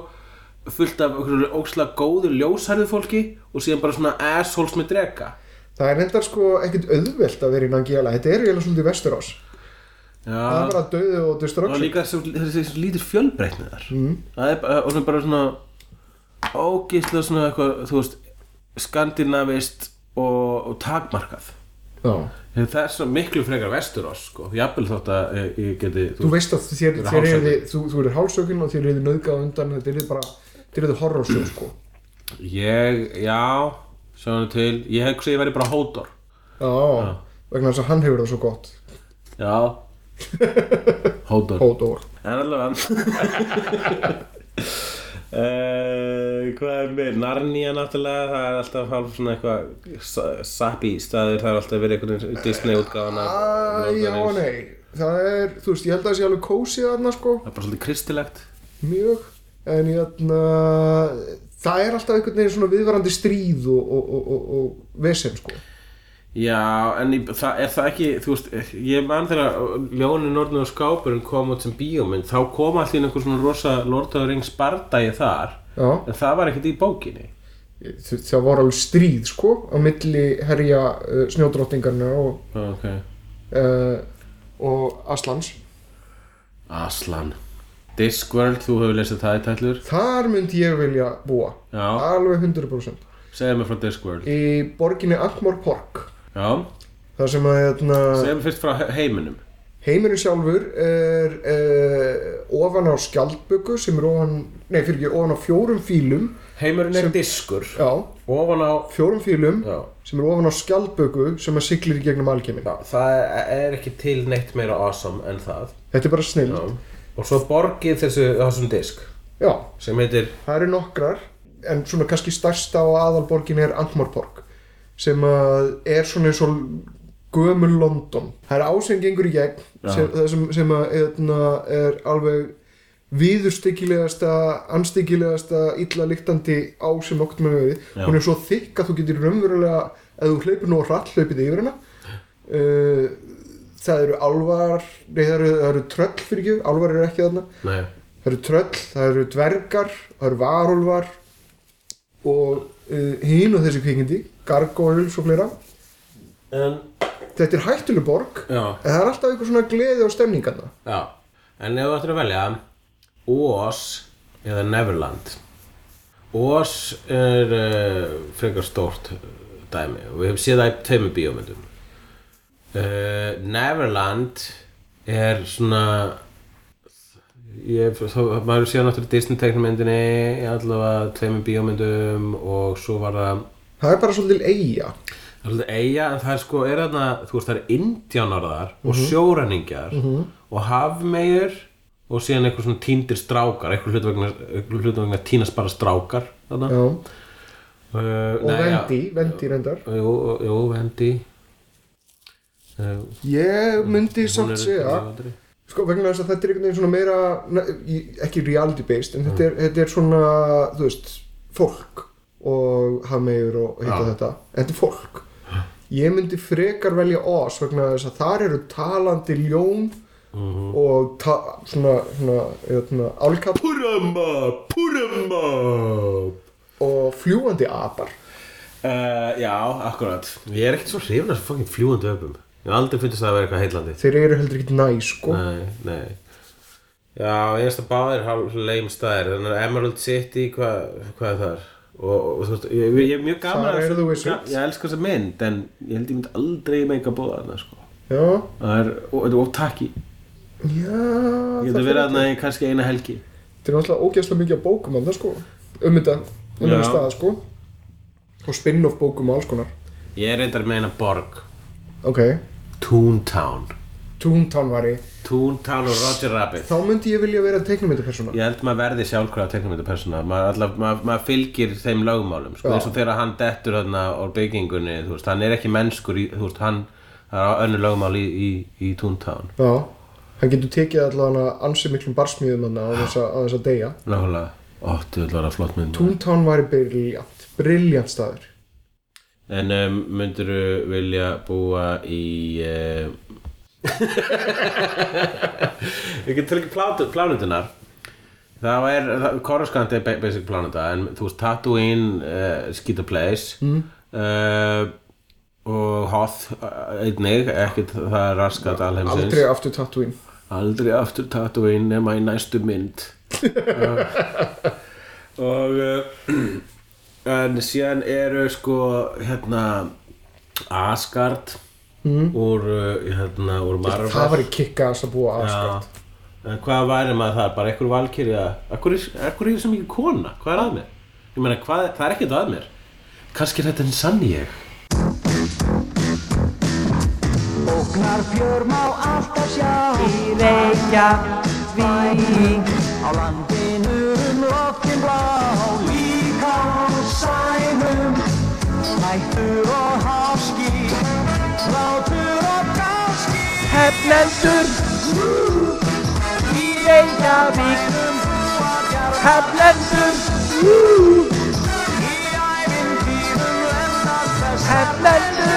[SPEAKER 2] fullt af okkur ókslega góðu ljósharðu fólki og síðan bara svona assholes með drega
[SPEAKER 1] Það er reyndar sko ekkert auðvelt að vera í Nangiala, þetta er eiginlega svolítið Vesturás. Það er
[SPEAKER 2] Já,
[SPEAKER 1] bara döðu og
[SPEAKER 2] og
[SPEAKER 1] destruction.
[SPEAKER 2] líka þessi, þessi, þessi lítur fjölbreytni þar mm. það er bara, og svona bara svona ógeðslega svona eitthvað, þú veist skandinavist og, og takmarkað
[SPEAKER 1] Já.
[SPEAKER 2] Það er svo miklu frekar vesturós sko. Jafnvel þótt að eh, ég geti
[SPEAKER 1] Þú veist að þér,
[SPEAKER 2] Þú eru
[SPEAKER 1] þér er,
[SPEAKER 2] hálsökin.
[SPEAKER 1] þú, þú eru hálsökinn og þér eru nöðgað undan þetta er bara, þér eru horrorsjó sko.
[SPEAKER 2] Ég, já, sjáum til Ég hugsa að ég væri bara hótor
[SPEAKER 1] Já, vegna þess að hann hefur það svo gott
[SPEAKER 2] Já Hótor
[SPEAKER 1] Hódór
[SPEAKER 2] En allavega Uh, hvað er mér? Narnia náttúrulega, það er alltaf hálf svona eitthvað sa- sappy staður, það er alltaf verið einhvern Disney útgáðan
[SPEAKER 1] Æ, já, nei Það er, þú veist, ég held að það sé alveg kósi þarna sko,
[SPEAKER 2] Það er bara svolítið kristilegt
[SPEAKER 1] mjög en ég þarna það er alltaf einhvern veginn svona viðvarandi stríð og, og, og, og, og vesen sko
[SPEAKER 2] Já, en ég, það, er það ekki, þú veist, ég man þegar Ljónin, Nornin og Skápurinn kom út sem bíómynd, þá kom allir einhver svona rosa Lord of the Rings bardagi þar,
[SPEAKER 1] Já,
[SPEAKER 2] en það var ekkert í bókinni.
[SPEAKER 1] þ- það var alveg stríð sko á milli herja uh, snjódrottingarna og,
[SPEAKER 2] Ok.
[SPEAKER 1] uh, og Aslans
[SPEAKER 2] Aslan. Discworld, þú hefur lesið það í tællur.
[SPEAKER 1] Þar myndi ég vilja búa
[SPEAKER 2] Já,
[SPEAKER 1] alveg 100%
[SPEAKER 2] segðu mér frá Discworld.
[SPEAKER 1] í borginni Ankmorpork
[SPEAKER 2] Já,
[SPEAKER 1] þar sem að hérna,
[SPEAKER 2] segðu mér fyrst frá he- heiminum.
[SPEAKER 1] heimurinn sjálfur er uh, ofan á skjaldböku sem er ofan, nei fyrir ekki, ofan á fjórum fílum
[SPEAKER 2] Heimurinn er
[SPEAKER 1] Sem-
[SPEAKER 2] diskur.
[SPEAKER 1] já,
[SPEAKER 2] Ofan á,
[SPEAKER 1] fjórum fílum
[SPEAKER 2] já,
[SPEAKER 1] sem er ofan á skjaldböku sem að siglir í gegnum alkeminn
[SPEAKER 2] já, það er- er ekki til neitt meira awesome en það.
[SPEAKER 1] þetta er bara snill
[SPEAKER 2] Já.
[SPEAKER 1] já.
[SPEAKER 2] Og svo borgið þessu, þessum disk, sem heitir
[SPEAKER 1] það eru nokkrar en svona kannski starsta á aðalborgin er Ankmorpork sem að er svona eins og gömul London það er ásengengur í gegn
[SPEAKER 2] Já.
[SPEAKER 1] sem, það sem, sem að, eðna, er alveg viðurstyggilegasta, anstyggilegasta, illa líktandi á sem okkur með verið
[SPEAKER 2] Já.
[SPEAKER 1] hún er svo þykk að þú getur raunverulega ef þú hleypur nú á hratt hlaupið yfir hana uh, það eru alvar nei það eru, það eru tröll fyrir ekki alvar eru ekki þarna
[SPEAKER 2] Nei.
[SPEAKER 1] það eru tröll, það eru dvergar það eru varulvar og uh, hín og þessi kvikindi gargoyles og fleira
[SPEAKER 2] En,
[SPEAKER 1] þetta er hættuleg borg
[SPEAKER 2] já,
[SPEAKER 1] en það er alltaf einhver svona gleði á stemningarna
[SPEAKER 2] já. En ef þú ættir að velja Oz eða Neverland Oz er uh, frekar stórt eh, dæmi og við hefum séð það í tveimur bíómyndum uh, Neverland er svona ég, þá, maður hefur séð náttúrulega Disney teknumyndinni í allavega tveimur bíómyndum og svo var það
[SPEAKER 1] það er bara svolítil eiga
[SPEAKER 2] Það er svolítið eiga en það er sko, er þarna, þú veist það er indjánar þar og sjóræningjar og hafmeyjur og síðan eitthvað svona tíndir strákar, eitthvað hlut vegna, eitthvað hlut vegna tínast bara strákar þarna.
[SPEAKER 1] Já.
[SPEAKER 2] Uh,
[SPEAKER 1] og vendi, vendi reyndar
[SPEAKER 2] Já, jú, jú, vendi. Uh,
[SPEAKER 1] ég myndi samt segja
[SPEAKER 2] Já,
[SPEAKER 1] Sko, vegna þess að þetta er einhvern veginn svona meira, ne- í- ekki reality based, en þetta, er, þetta er svona, þú veist, fólk og hafmeyjur og hitta
[SPEAKER 2] Já.
[SPEAKER 1] þetta. En þetta er fólk. Ég myndi frekar velja Oz vegna þess að þar eru talandi ljón
[SPEAKER 2] Mhm.
[SPEAKER 1] og ta, svona, svona, hérna, svona, álkapp
[SPEAKER 2] Púrama, púrama.
[SPEAKER 1] og fljúandi apar.
[SPEAKER 2] Uh, já, akkurat. Ég er ekkert svo hrifin að fangin fljúandi öpum. Ég hef aldrei fundist það að vera eitthvað heillandi.
[SPEAKER 1] Þeir eru heldur ekki næ, sko.
[SPEAKER 2] Nei, nei Já, ég veist að báðir hálf leim staðir Þannig að Emerald City, hvað, hvað er þar? Og, og þú veist, ég, ég er mjög gaman
[SPEAKER 1] Þar
[SPEAKER 2] að
[SPEAKER 1] eru
[SPEAKER 2] þessu-
[SPEAKER 1] þú vissuð.
[SPEAKER 2] Ég elska þessa mynd, en ég held ég mynd aldrei meika að bóða þarna, sko
[SPEAKER 1] Já,
[SPEAKER 2] Það er, og þetta er ótaki Ég
[SPEAKER 1] já,
[SPEAKER 2] geti verið þarna í kannski eina helgi
[SPEAKER 1] Þetta er náttúrulega ógeðslega mikið af bókum annað sko um þetta, um
[SPEAKER 2] Já.
[SPEAKER 1] þetta stað sko og spin-off bókum og alls konar
[SPEAKER 2] Ég er reyndar meina borg
[SPEAKER 1] ok,
[SPEAKER 2] Toontown
[SPEAKER 1] Toontown var ég
[SPEAKER 2] Toontown og Roger Rabbit
[SPEAKER 1] þá myndi ég vilja vera teiknumyndapersona
[SPEAKER 2] Ég held maður verði sjálfkrafa teknumyndapersona maður, alla- maður, maður fylgir þeim lögmálum sko,
[SPEAKER 1] Já.
[SPEAKER 2] eins og þegar hann dettur þarna á byggingunni, þú veist, hann er ekki mennskur í, þú veist, hann, það er önnu lögmál í, í, í Toontown
[SPEAKER 1] já, hann getur tekið allavega ansi miklum barsmíðum hann á þess að, á þess að deyja
[SPEAKER 2] Nákvæmlega, ó, þetta var að flott mynd maður.
[SPEAKER 1] Toontown var ég briljant, briljant staður
[SPEAKER 2] En um, myndirðu vilja búa í uh... Ég get til ekki plátu, plánutunar Það er, það- Coruscant er ba- basic plánuta en þú veist Tatooine uh, skita place mm. og Hoth eh, einnig, ekkert það er raskat alheimsins
[SPEAKER 1] aldrei aftur Tatooine
[SPEAKER 2] Aldrei aftur Tatooine nema í næstu mynd uh, og uh, en síðan eru sko hérna Asgard
[SPEAKER 5] Mm.
[SPEAKER 2] úr, uh, hérna, úr Marvel
[SPEAKER 5] Það var í kikka að búa að
[SPEAKER 2] Já.
[SPEAKER 5] sko.
[SPEAKER 2] En hvað væri maður þar? Bara einhver valkyri að... Akkur er, akkur er ég sem ekki kona? Hvað er að mér? Ég meina, hvað, það er ekkert að mér. Kannski er þetta en sann ég.
[SPEAKER 6] Óknar björn má alltaf sjá Í reykja vík Á landinu um loftin blá Líka á sænum Snættur og háski Látur og gáski Heflendur Í reykja vík Heflendur Í ævintýrum lennast þess Heflendur